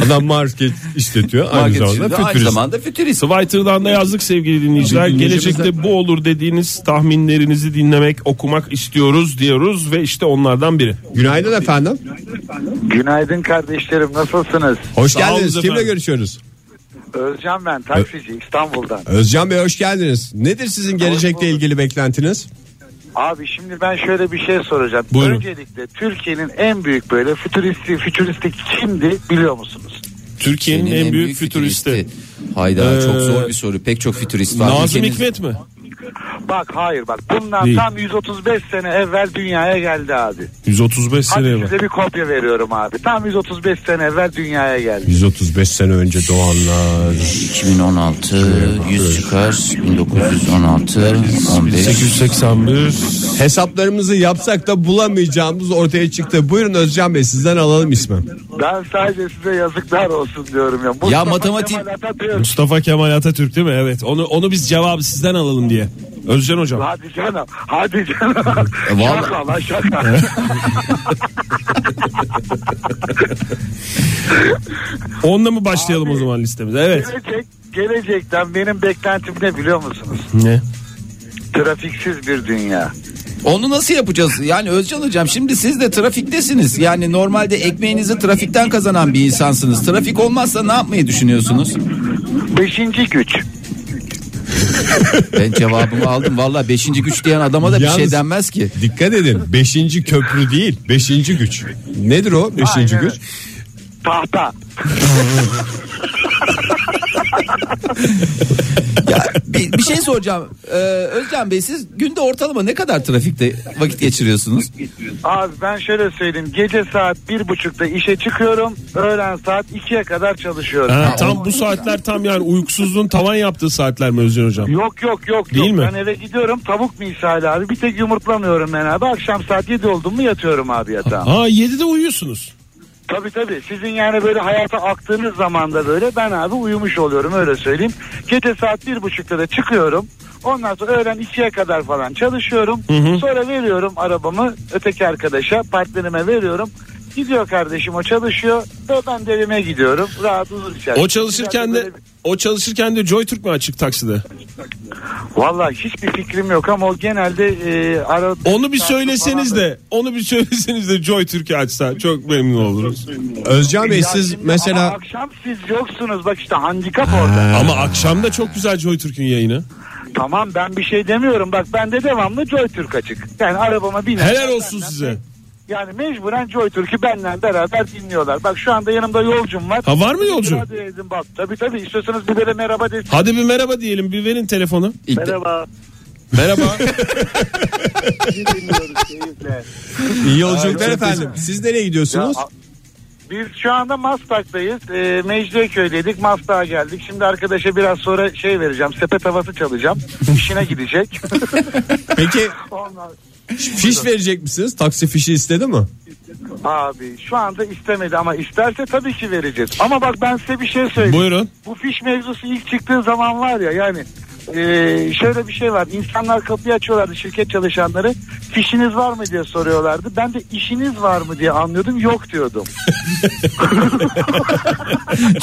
Adam market işletiyor aynı
market
zamanda
içinde, aynı
fütürist.
zamanda fütürist
Twitter'dan da yazdık sevgili dinleyiciler. Gelecekte bu olur dediğiniz tahminlerinizi dinlemek, okumak istiyoruz diyoruz ve işte onlardan biri.
Günaydın efendim.
Günaydın kardeşlerim nasılsınız?
Hoş
Sağ olun
geldiniz.
efendim.
Kimle görüşüyoruz?
Özcan ben taksici İstanbul'dan.
Özcan Bey hoş geldiniz. Nedir sizin gelecekle
bulduk.
ilgili beklentiniz?
Abi şimdi ben şöyle bir şey soracağım.
Buyurun.
Öncelikle Türkiye'nin en büyük böyle fütüristik, fütüristik kimdi biliyor musunuz?
Türkiye'nin en, büyük, fütüristi.
Hayda
Ee,
çok zor bir soru pek çok fütürist var
Nazım
Ülkeniz-
Hikmet mi?
Bak hayır bak bundan
Değil.
tam 135 sene evvel dünyaya geldi abi.
135
Hadi
sene
size bir kopya veriyorum abi. Tam 135 sene evvel dünyaya geldi.
135 sene önce doğanlar.
2016 100 çıkar 1916 15
881
Hesaplarımızı yapsak da bulamayacağımız ortaya çıktı. Buyurun Özcan Bey sizden alalım ismi.
Ben sadece size yazıklar olsun diyorum ya. Mustafa
matematik-
Kemal Atatürk.
Mustafa Kemal Atatürk değil mi? Evet. Onu onu biz cevabı sizden alalım diye. Özcan hocam.
Hadi canım. Hadi canım.
vallahi-
şaka lan şaka.
Onunla mı başlayalım o zaman listemize? Evet.
Gelecek, gelecekten benim beklentim ne biliyor musunuz?
Ne?
Trafiksiz bir dünya.
Onu nasıl yapacağız? Yani Özcan hocam şimdi siz de trafiktesiniz. Yani normalde ekmeğinizi trafikten kazanan bir insansınız. Trafik olmazsa ne yapmayı düşünüyorsunuz?
Beşinci güç.
Ben cevabımı aldım. Valla beşinci güç diyen adama da bir şey
Yalnız-
denmez ki.
Dikkat edin. Beşinci köprü değil. Beşinci güç. Nedir o beşinci
Aynen
güç?
Tahta.
Ya, bir, bir şey soracağım. Ee, Özcan Bey siz günde ortalama ne kadar trafikte vakit geçiriyorsunuz?
Abi ben şöyle söyleyeyim. Gece saat bir buçukta işe çıkıyorum. Öğlen saat ikiye kadar çalışıyorum.
Ha, tam bu saatler tam yani uykusuzluğun tavan yaptığı saatler mi Özcan hocam?
Yok yok yok.
Değil
yok.
mi?
Ben eve gidiyorum tavuk misali abi. Bir tek yumurtlamıyorum ben abi. Akşam saat 7 oldu mu yatıyorum abi yatağa.
Ha 7'de uyuyorsunuz.
Tabii tabii. Sizin yani böyle hayata aktığınız zaman da böyle ben abi uyumuş oluyorum öyle söyleyeyim. Gece saat bir buçukta da çıkıyorum. Ondan sonra öğlen ikiye kadar falan çalışıyorum. Sonra veriyorum arabamı öteki arkadaşa partnerime veriyorum. Gidiyor kardeşim o çalışıyor ve ben de evime gidiyorum. Rahat huzur içerisinde.
O çalışırken de o çalışırken de Joy Türk mü açık takside?
Valla hiçbir fikrim yok ama o genelde e, ara...
Onu bir söyleseniz de, onu bir söyleseniz de Joy Türk'ü açsa çok memnun oluruz.
Özcan Bey
Ya
siz
şimdi ama
mesela
akşam siz yoksunuz bak işte handikap orada.
Ama akşam da çok güzel Joy Türk'ün yayını.
Tamam ben bir şey demiyorum. Bak bende devamlı Joy Türk açık. Yani arabama biner.
Helal olsun size.
Yani mecburen Joy Türk'ü benle beraber dinliyorlar. Bak şu anda yanımda yolcum var.
Ha, var mı yolcu?
Hadi dedim bak. Tabii tabii istiyorsanız bir de merhaba desin.
Hadi bir merhaba diyelim bir verin telefonu.
İlk de-
Merhaba.
Merhaba.
Sizi dinliyoruz keyifle.
İyi yolculuklar
Aa,
efendim. Siz nereye gidiyorsunuz?
Ya, a- Biz şu anda Maslak'tayız. E, Mecidiyeköy'deydik. Maslak'a geldik. Şimdi arkadaşa biraz sonra şey vereceğim. Sepet havası çalacağım. İşine gidecek.
Peki
Ondan-
fiş verecek misiniz? Taksi fişi istedi mi?
Abi şu anda istemedi ama isterse tabii ki vereceğiz. Ama bak ben size bir şey söyleyeyim.
Buyurun.
Bu fiş mevzusu ilk çıktığı zaman var ya yani e, şöyle bir şey var. İnsanlar kapıyı açıyorlardı şirket çalışanları. Fişiniz var mı diye soruyorlardı. Ben de işiniz var mı diye anlıyordum. Yok diyordum.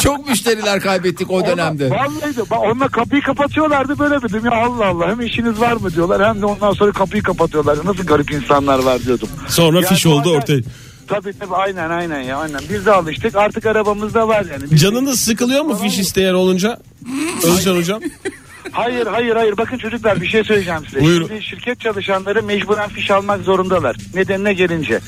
Çok müşteriler kaybettik o dönemde.
Vallahi de, bak onunla kapıyı kapatıyorlardı böyle dedim ya Allah Allah hem işiniz var mı diyorlar hem de ondan sonra kapıyı kapatıyorlar. Nasıl garip insanlar var diyordum.
Sonra
Ya
fiş
bu
oldu
arada-
ortaya.
Tabii tabii aynen aynen ya aynen. Biz de alıştık artık arabamızda var yani. Biz-
Canınız sıkılıyor mu fiş isteyen olunca? Özcan hocam.
Hayır hayır hayır bakın çocuklar bir şey söyleyeceğim size.
Buyurun.
Şimdi şirket çalışanları mecburen fiş almak zorundalar. Nedenine gelince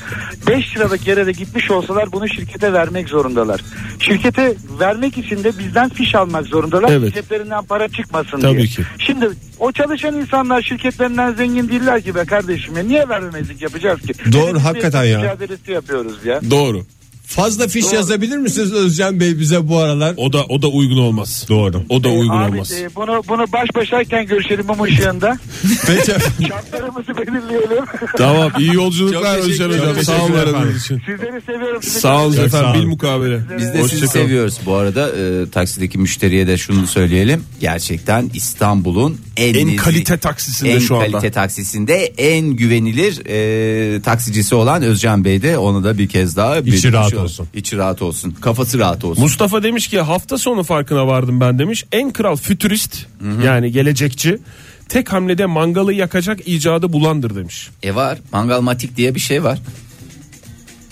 5 liralık yere de gitmiş olsalar bunu şirkete vermek zorundalar. Şirkete vermek için de bizden fiş almak zorundalar.
Evet.
Ceplerinden para çıkmasın
Tabii
diye.
ki.
Şimdi o çalışan insanlar şirketlerinden zengin değiller ki be kardeşim. ya. Niye vermemezlik yapacağız ki?
Doğru,
Hepimiz
hakikaten ya.
Mücadelesi yapıyoruz ya.
Doğru.
Fazla fiş yazabilir misiniz Özcan Bey bize bu aralar?
O da o da uygun olmaz.
Doğru.
O da uygun
Abi,
olmaz.
e, bunu bunu baş başayken görüşelim mum ışığında.
Peki.
Şartlarımızı belirleyelim.
Tamam iyi yolculuklar
Çok teşekkür
Özcan
ederim.
hocam. Sağ olun
Teşekkür ederim.
aradığınız için.
Sizleri seviyorum. Sizi
Sağ olun
Çok sağ
efendim.
olun.
Bil mukabele.
Biz de sizi
Hoşça kalın.
seviyoruz bu arada. Ee, taksideki müşteriye de şunu söyleyelim. Gerçekten İstanbul'un en,
En
nezih-
kalite taksisinde
en
şu anda.
kalite taksisinde en güvenilir e, taksicisi olan Özcan Bey de onu da bir kez daha belirtmiş
rahat
olalım.
olsun.
İçi rahat olsun. Kafası rahat olsun.
Mustafa demiş ki hafta sonu farkına vardım ben demiş. En kral fütürist yani gelecekçi tek hamlede mangalı yakacak icadı bulandır demiş.
e var. Mangalmatik diye bir şey var.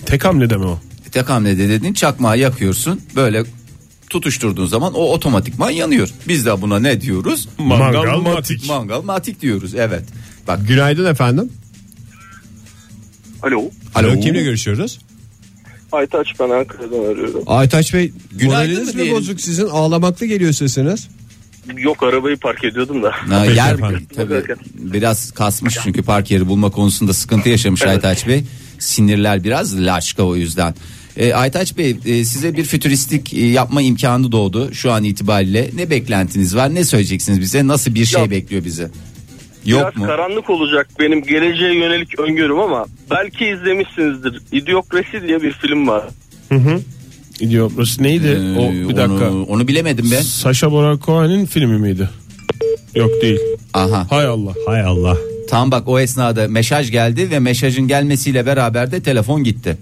Tek hamlede mi o?
Tek hamlede dedin çakmağı yakıyorsun. Böyle tutuşturduğun zaman o otomatikman yanıyor. Biz de buna ne diyoruz?
Mangalmatik.
Mangalmatik diyoruz. Evet. Bak.
Günaydın efendim.
Alo.
Alo kimle görüşüyoruz?
Aytaç ben Ankara'dan arıyorum.
Aytaç Bey
Günaydın mı
moraliniz mi
diyelim?
bozuk sizin ağlamaklı geliyor sesiniz.
Yok arabayı park ediyordum da.
Ha,
Peki
yer
efendim.
tabii biraz kasmış çünkü park yeri bulma konusunda sıkıntı yaşamış Aytaç Bey. Sinirler biraz laçka o yüzden. E, Aytaç Bey e, size bir fütüristik e, yapma imkanı doğdu şu an itibariyle. Ne beklentiniz var? Ne söyleyeceksiniz bize? Nasıl bir şey
Ya-
bekliyor bizi? Yok
Biraz
mu?
karanlık olacak benim geleceğe yönelik öngörüm ama belki izlemişsinizdir. İdiokrasi diye bir film var.
Gidiyor. Burası neydi?
Ee,
o bir dakika.
Onu, onu bilemedim ben.
Saşa Baron Cohen'in filmi miydi? Yok değil.
Aha.
Hay Allah.
Hay Allah.
Tam bak o esnada mesaj geldi ve mesajın gelmesiyle beraber de telefon gitti.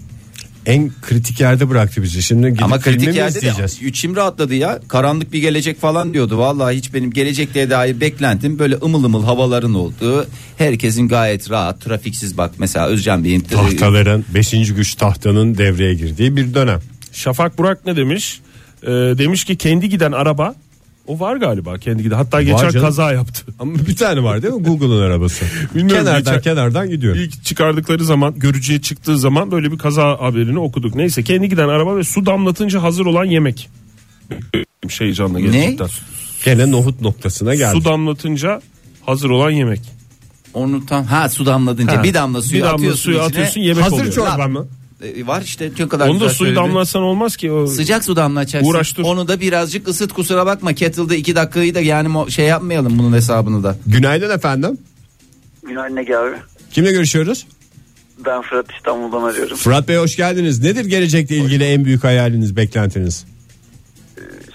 En kritik yerde bıraktı bizi. Şimdi gidip
Ama kritik yerde de
izleyeceğiz.
içim rahatladı ya. Karanlık bir gelecek falan diyordu. Vallahi hiç benim gelecekle dair beklentim böyle ımıl ımıl havaların olduğu. Herkesin gayet rahat, trafiksiz bak. Mesela Özcan Bey'in
Tahtaların 5. güç tahtanın devreye girdiği bir dönem.
Şafak Burak ne demiş? Ee, demiş ki kendi giden araba o var galiba kendi giden. Hatta geçen
canım.
kaza yaptı.
Ama bir tane var değil mi? Google'ın arabası.
Bilmiyorum,
kenardan
geçen-
kenardan gidiyor.
İlk çıkardıkları zaman görücüye çıktığı zaman böyle bir kaza haberini okuduk. Neyse kendi giden araba ve su damlatınca hazır olan yemek. Şey heyecanla gerçekten.
Gene nohut noktasına geldi.
Su damlatınca hazır olan yemek.
onu tam ha su damladınca
Ha,
E, bir damla suyu
bir damla
atıyorsun
suyu
içine.
atıyorsun, yemek Hazır oluyor.
Lan,
çorba mı?
e, var işte ne kadar
Onu da
güzel
suyu
söyledin.
damlatsan olmaz ki. O...
Sıcak su damlatacaksın.
Uğraştır.
Onu da birazcık ısıt kusura bakma. Kettle'da iki dakikayı da yani mo- şey yapmayalım bunun hesabını da.
Günaydın efendim.
Günaydın Ege abi.
Kimle görüşüyoruz?
Ben Fırat İstanbul'dan arıyorum.
Fırat Bey hoş geldiniz. Nedir gelecekle ilgili en büyük hayaliniz, beklentiniz?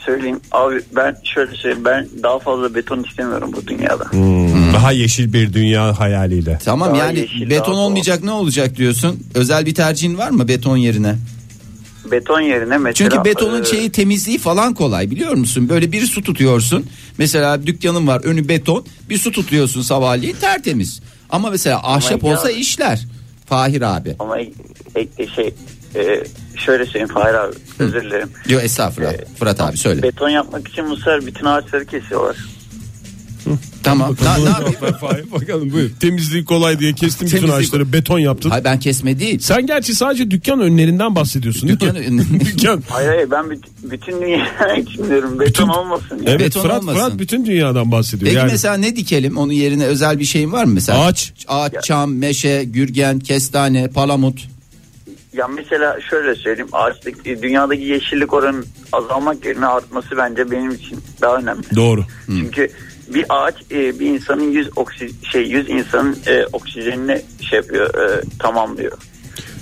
Söyleyeyim abi ben şöyle söyleyeyim. Ben daha fazla beton istemiyorum bu dünyada.
Hmm.
Daha yeşil bir dünya hayaliyle.
Tamam
Daha
yani
yeşil, daha
beton
doğal.
olmayacak ne olacak diyorsun? Özel bir tercihin var mı beton yerine?
Beton yerine mesela...
Çünkü betonun
e,
şeyi temizliği falan kolay biliyor musun? Böyle bir su tutuyorsun. Mesela dükkanın var önü beton. Bir su tutuyorsun sabahleyin tertemiz. Ama mesela ahşap
Ama ya-
olsa işler. Fahir abi.
Ama e, e, şey e, şöyle söyleyeyim Fahir abi özür dilerim.
Yo
E,
estağfurullah. E, Fırat abi söyle.
Beton yapmak için bu sefer bütün ağaçları kesiyorlar.
Tamam. Ne, ne yapayım?
Bakalım buyur. Temizliği kolay diye kestim bütün
Temizlik-
ağaçları beton yaptın.
Hayır ben kesme değil.
Sen gerçi sadece dükkan önlerinden bahsediyorsun değil
Dükkan
mi?
önünden-
Dükkan.
Hayır hayır ben büt- bütün dünya için diyorum. Beton olmasın. Ya.
Evet
Beton
Fırat,
olmasın.
Fırat bütün dünyadan bahsediyor.
Peki
yani
mesela ne dikelim? Onun yerine özel bir şeyin var mı mesela?
Ağaç.
Ağaç, çam, meşe, gürgen, kestane, palamut.
ya mesela şöyle söyleyeyim. Ağaçtaki dünyadaki yeşillik oranın azalmak yerine artması bence benim için daha önemli.
doğru.
Çünkü bir ağaç e, bir insanın yüz oksi şey yüz insanın e, oksijenini şey yapıyor e, tamamlıyor.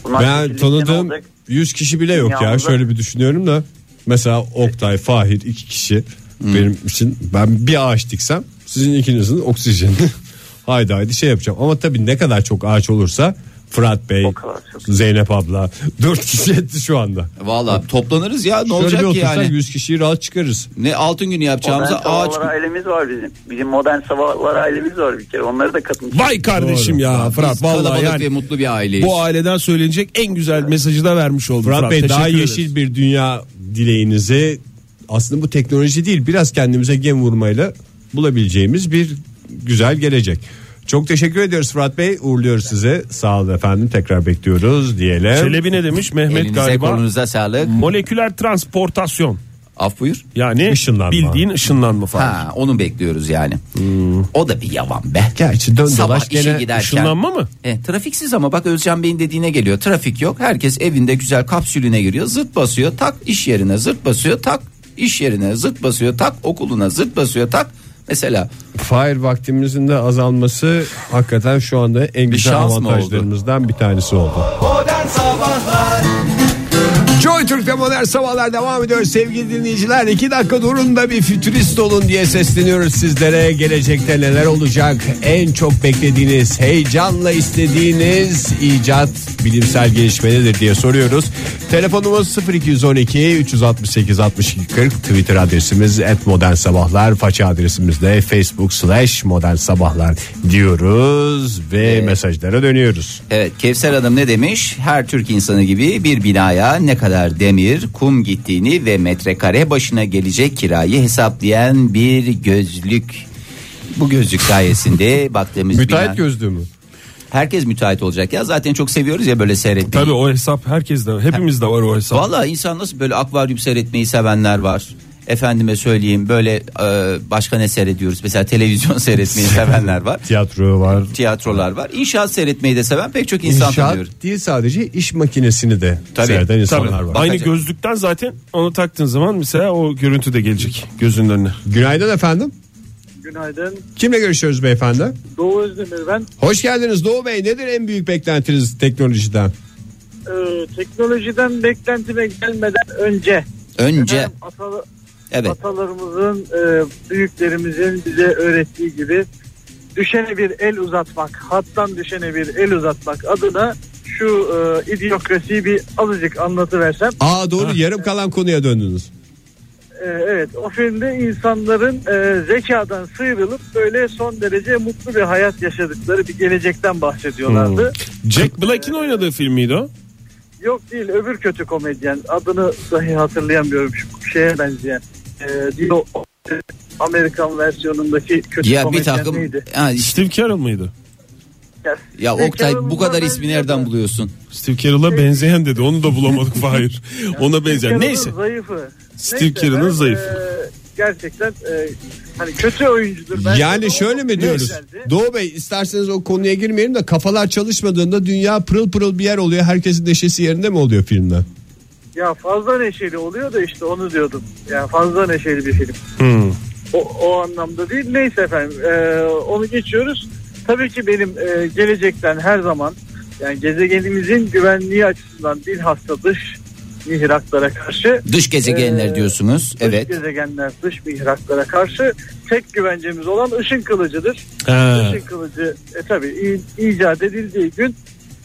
Bunlar
Ben
yeşillikten
tanıdığım
olacak.
100 kişi bile yok ya.
Dünyamızda-
Şöyle bir düşünüyorum da. Mesela Oktay, Fahir iki kişi
Hmm.
benim için ben bir ağaç diksem sizin ikinizin oksijeni haydi haydi şey yapacağım. Ama tabii ne kadar çok ağaç olursa Fırat Bey,
O kadar çok.
Zeynep abla dört kişi etti şu anda.
Vallahi toplanırız ya ne
Şöyle bir
olacak ki
otursak
yani?
100 kişiyi rahat çıkarız.
Ne altın günü
Modern
yapacağımıza ağaç.
sabahlar ailemiz var bizim. Bizim modern sabahlar ailemiz var bir kere. Onları da katın.
Vay kardeşim
Doğru.
ya Fırat
Biz
vallahi
kalabalık ve
yani
mutlu bir aileyiz.
bu aileden söylenecek en güzel mesajı da vermiş oldun Fırat,
Fırat Bey daha
teşekkür
yeşil
ederiz.
bir dünya dileğinizi aslında bu teknoloji değil biraz kendimize gem vurmayla bulabileceğimiz bir güzel gelecek. Çok teşekkür ediyoruz Fırat Bey. Uğurluyoruz size. Sağ olun efendim. Tekrar bekliyoruz diyelim.
Çelebi ne demiş Mehmet
Elinize
galiba Hmm.
kolunuza sağlık.
moleküler transportasyon
Af buyur.
yani
Işınlanma.
bildiğin ışınlanma falan.
Ha, onu bekliyoruz yani.
Hmm.
O da bir yavan be.
Gerçi dön
Sabah
dolaş
işe
gene
giderken.
ışınlanma mı?
E, trafiksiz ama bak Özcan Bey'in dediğine geliyor. Trafik yok. Herkes evinde güzel kapsülüne giriyor. Zırt basıyor tak iş yerine zırt basıyor tak iş yerine zırt basıyor tak okuluna zırt basıyor tak. Mesela
Fire vaktimizin de azalması hakikaten şu anda en güzel
şans mı
avantajlarımızdan bir tanesi oldu. Joy Türk'te modern sabahlar devam ediyor sevgili dinleyiciler. iki dakika durun da bir fütürist olun diye sesleniyoruz sizlere. Gelecekte neler olacak? En çok beklediğiniz, heyecanla istediğiniz icat bilimsel gelişme nedir diye soruyoruz. Telefonumuz 0212 368 62 40 Twitter adresimiz et modern sabahlar. Faça adresimiz de facebook slash modern sabahlar diyoruz ve mesajlara dönüyoruz.
Evet Kevser Hanım ne demiş? Her Türk insanı gibi bir binaya ne kadar demir, kum gittiğini ve metrekare başına gelecek kirayı hesaplayan bir gözlük. Bu gözlük sayesinde baktığımız bina-
Müteahhit gözlüğü mü?
herkes müteahhit olacak ya zaten çok seviyoruz ya böyle seyretmeyi.
Tabii o hesap herkeste hepimizde var o hesap.
Valla insan nasıl böyle akvaryum seyretmeyi sevenler var. Efendime söyleyeyim böyle e, başka ne seyrediyoruz? Mesela televizyon seyretmeyi sevenler var.
Tiyatro var.
Tiyatrolar var. İnşaat seyretmeyi de seven pek çok insan
İnşaat
tanıyorum.
değil sadece iş makinesini de
Tabii,
seyreden insanlar
Tabii.
var.
Aynı
Bakacak.
gözlükten zaten onu taktığın zaman mesela o görüntü de gelecek gözünün önüne.
Günaydın efendim.
Günaydın.
Kimle görüşüyoruz beyefendi?
Doğu Özdemir ben.
Hoş geldiniz Doğu Bey. Nedir en büyük beklentiniz teknolojiden?
Ee, teknolojiden beklentime gelmeden önce
Önce
efendim, ata-
evet.
atalarımızın, e, büyüklerimizin bize öğrettiği gibi düşene bir el uzatmak, hattan düşene bir el uzatmak adına şu e, idiokrasiyi bir azıcık anlatıversem.
Aa doğru yarım kalan konuya döndünüz.
Ee, Evet o filmde insanların e, zekadan sıyrılıp böyle son derece mutlu bir hayat yaşadıkları bir gelecekten bahsediyorlardı.
Jack Black'in oynadığı film miydi o?
Yok değil öbür kötü komedyen adını dahi hatırlayamıyorum şu şeye benzeyen. Ee, değil o Amerikan versiyonundaki kötü
Ya bir
komedyen
takım
neydi?
ha, işte
Steve Carell mıydı?
Ya,
Ya
Steve
Oktay bu
Carell'ın
kadar
da
ismi
benziyor da.
nereden buluyorsun?
Steve Carell'a benzeyen dedi. Onu da bulamadık Fahir. Ona benzeyen.
Carell'ın
Neyse.
Zayıfı.
Steve
Neyse,
Carell'ın
ben,
zayıfı.
e, gerçekten e, hani kötü oyuncudur. bence ama
Yani şöyle mi
çok
diyoruz?
güzeldi.
Doğu Bey isterseniz o konuya girmeyelim de kafalar çalışmadığında dünya pırıl pırıl bir yer oluyor. Herkesin neşesi yerinde mi oluyor filmde?
Ya fazla neşeli oluyor da işte onu diyordum. Ya fazla neşeli bir film.
Hmm.
O, o anlamda değil. Neyse efendim e, onu geçiyoruz. Tabii ki benim e, gelecekten her zaman yani gezegenimizin güvenliği açısından bilhassa dış mihraklara karşı
Dış gezegenler
Ee,
diyorsunuz. Evet.
dış gezegenler dış mihraklara karşı tek güvencemiz olan ışın kılıcıdır.
He.
Işın kılıcı e, tabii i- icat edildiği gün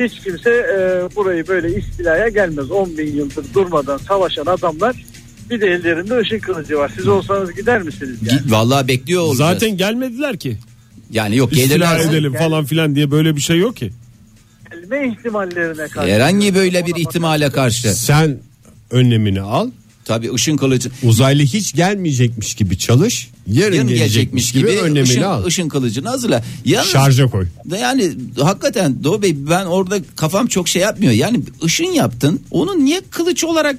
hiç kimse e, burayı böyle istilaya gelmez. 10 bin yıldır durmadan savaşan adamlar bir de ellerinde ışın kılıcı var. Siz olsanız gider misiniz? Yani?
Gi- Vallahi bekliyor olacağız.
Zaten gelmediler ki.
yani yok
İstila
gelirler.
edelim falan filan diye böyle bir şey yok ki.
Gelme ihtimallerine karşı.
Herhangi böyle bir
Ona bak-
ihtimale karşı.
Sen önlemini al.
Tabii ışın kılıcı.
Uzaylı hiç gelmeyecekmiş gibi çalış. Yarın,
Yarın
gelecekmiş,
gelecekmiş
gibi,
gibi
önlemini
ışın,
al.
ışın kılıcını hazırla. Yalnız-
Şarja koy.
Yani hakikaten Doğu Bey ben orada kafam çok şey yapmıyor. Yani ışın yaptın. Onu niye kılıç olarak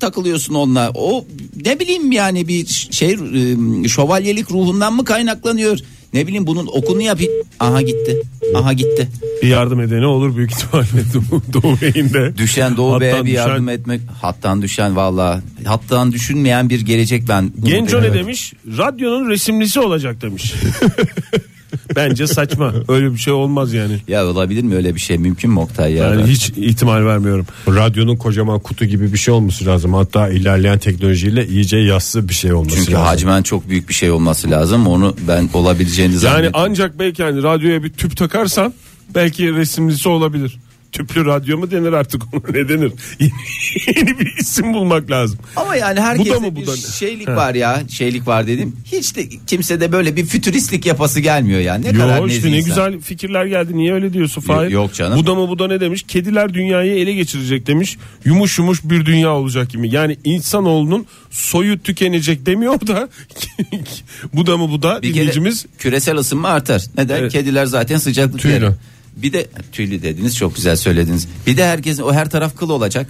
takılıyorsun onunla? O ne bileyim yani bir şey e, şövalyelik ruhundan mı kaynaklanıyor? Ne bileyim bunun okunu yap. Aha gitti. Aha gitti.
Bir yardım edene olur büyük ihtimalle Doğu- Doğu Bey'in de.
Düşen Doğu
Hattan
Bey'e bir
düşen-
yardım etmek. Hattan düşen valla. Hattan düşünmeyen bir gelecek ben. Bunu
Genco ne
demek.
demiş? Radyonun resimlisi olacak demiş. Bence saçma. Öyle bir şey olmaz yani.
Ya olabilir mi öyle bir şey? Mümkün mü Oktay ya?
Yani hiç ihtimal vermiyorum.
Radyonun kocaman kutu gibi bir şey olması lazım. Hatta ilerleyen teknolojiyle iyice yassı bir şey olması
Çünkü
lazım.
hacmen çok büyük bir şey olması lazım. Onu ben olabileceğini
Yani
zannetmiyorum.
ancak belki hani radyoya bir tüp takarsan belki resimlisi olabilir. Tüplü radyo mu denir artık ona ne denir? Yeni bir isim bulmak lazım.
Ama yani herkeste
Bu da mı, bu
bir
da mı?
şeylik
Ha.
var ya. Şeylik var dedim. Hiç de kimsede böyle bir fütüristlik yapası gelmiyor yani. Ne kadar
Yo işte
nezih
ne
insan.
güzel fikirler geldi. Niye öyle diyorsun
Yok-
Fahir?
yok canım.
Bu da mı bu da ne demiş? Kediler dünyayı ele geçirecek demiş. Yumuş yumuş bir dünya olacak gibi. Yani insanoğlunun soyu tükenecek demiyor da bu da mı bu da
Bir kere
dinleyicimiz
küresel ısınma artar. Neden?
Evet.
Kediler zaten sıcaklık
Tüylü.
yeri. Bir de tüylü dediniz çok güzel söylediniz. Bir de herkesin o her taraf kıl olacak.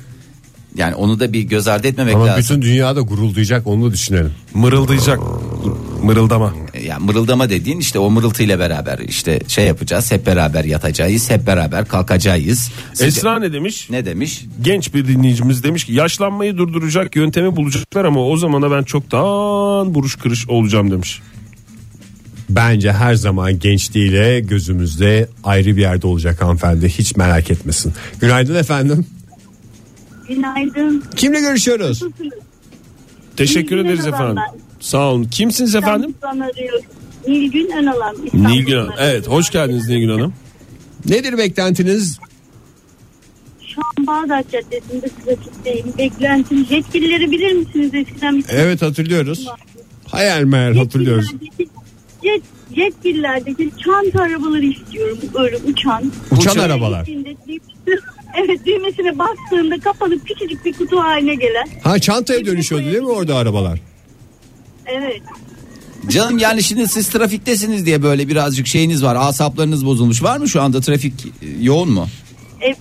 Yani onu da bir göz ardı etmemek
Ama
lazım.
bütün dünyada guruldayacak onu da düşünelim.
mırıldayacak. Dur, Mırıldama.
Yani mırıldama dediğin işte o mırıltıyla beraber işte şey yapacağız. Hep beraber yatacağız, hep beraber kalkacağız. Sıca-
Esra ne demiş?
ne demiş?
Genç bir dinleyicimiz demiş ki yaşlanmayı durduracak yöntemi bulacaklar ama o zamana ben çoktan buruş kırış olacağım demiş.
Bence her zaman gençliğiyle gözümüzde ayrı bir yerde olacak hanımefendi. Hiç merak etmesin. Günaydın efendim.
Günaydın.
Kimle görüşüyoruz?
Teşekkür
Nilgün
ederiz
Önalan
efendim.
ben.
Sağ olun. Kimsiniz efendim?
İstanbul'dan arıyorum. Nilgün Önalan. İstanbul'dan
Nilgün Hanım.
arıyorum.
Evet hoş geldiniz Nilgün Hanım.
Nedir beklentiniz?
Şu an Bağdat Caddesi'nde trafikteyim. Beklentim. Yetkilileri bilir misiniz eskiden? Bir
Evet hatırlıyoruz. Hayal meyal hatırlıyoruz.
Yetkililerdeki- Yet, yetkililerdeki çanta arabaları istiyorum. Böyle uçan.
Uçan
Böyle
arabalar.
gittiğinde düğmesine- Evet düğmesine bastığında kapalı küçücük bir kutu haline gelen.
Ha çantaya dönüşüyordu değil mi orada arabalar?
Evet.
Canım yani şimdi siz trafiktesiniz diye böyle birazcık şeyiniz var. Asaplarınız bozulmuş. Var mı şu anda trafik e, yoğun mu?
E,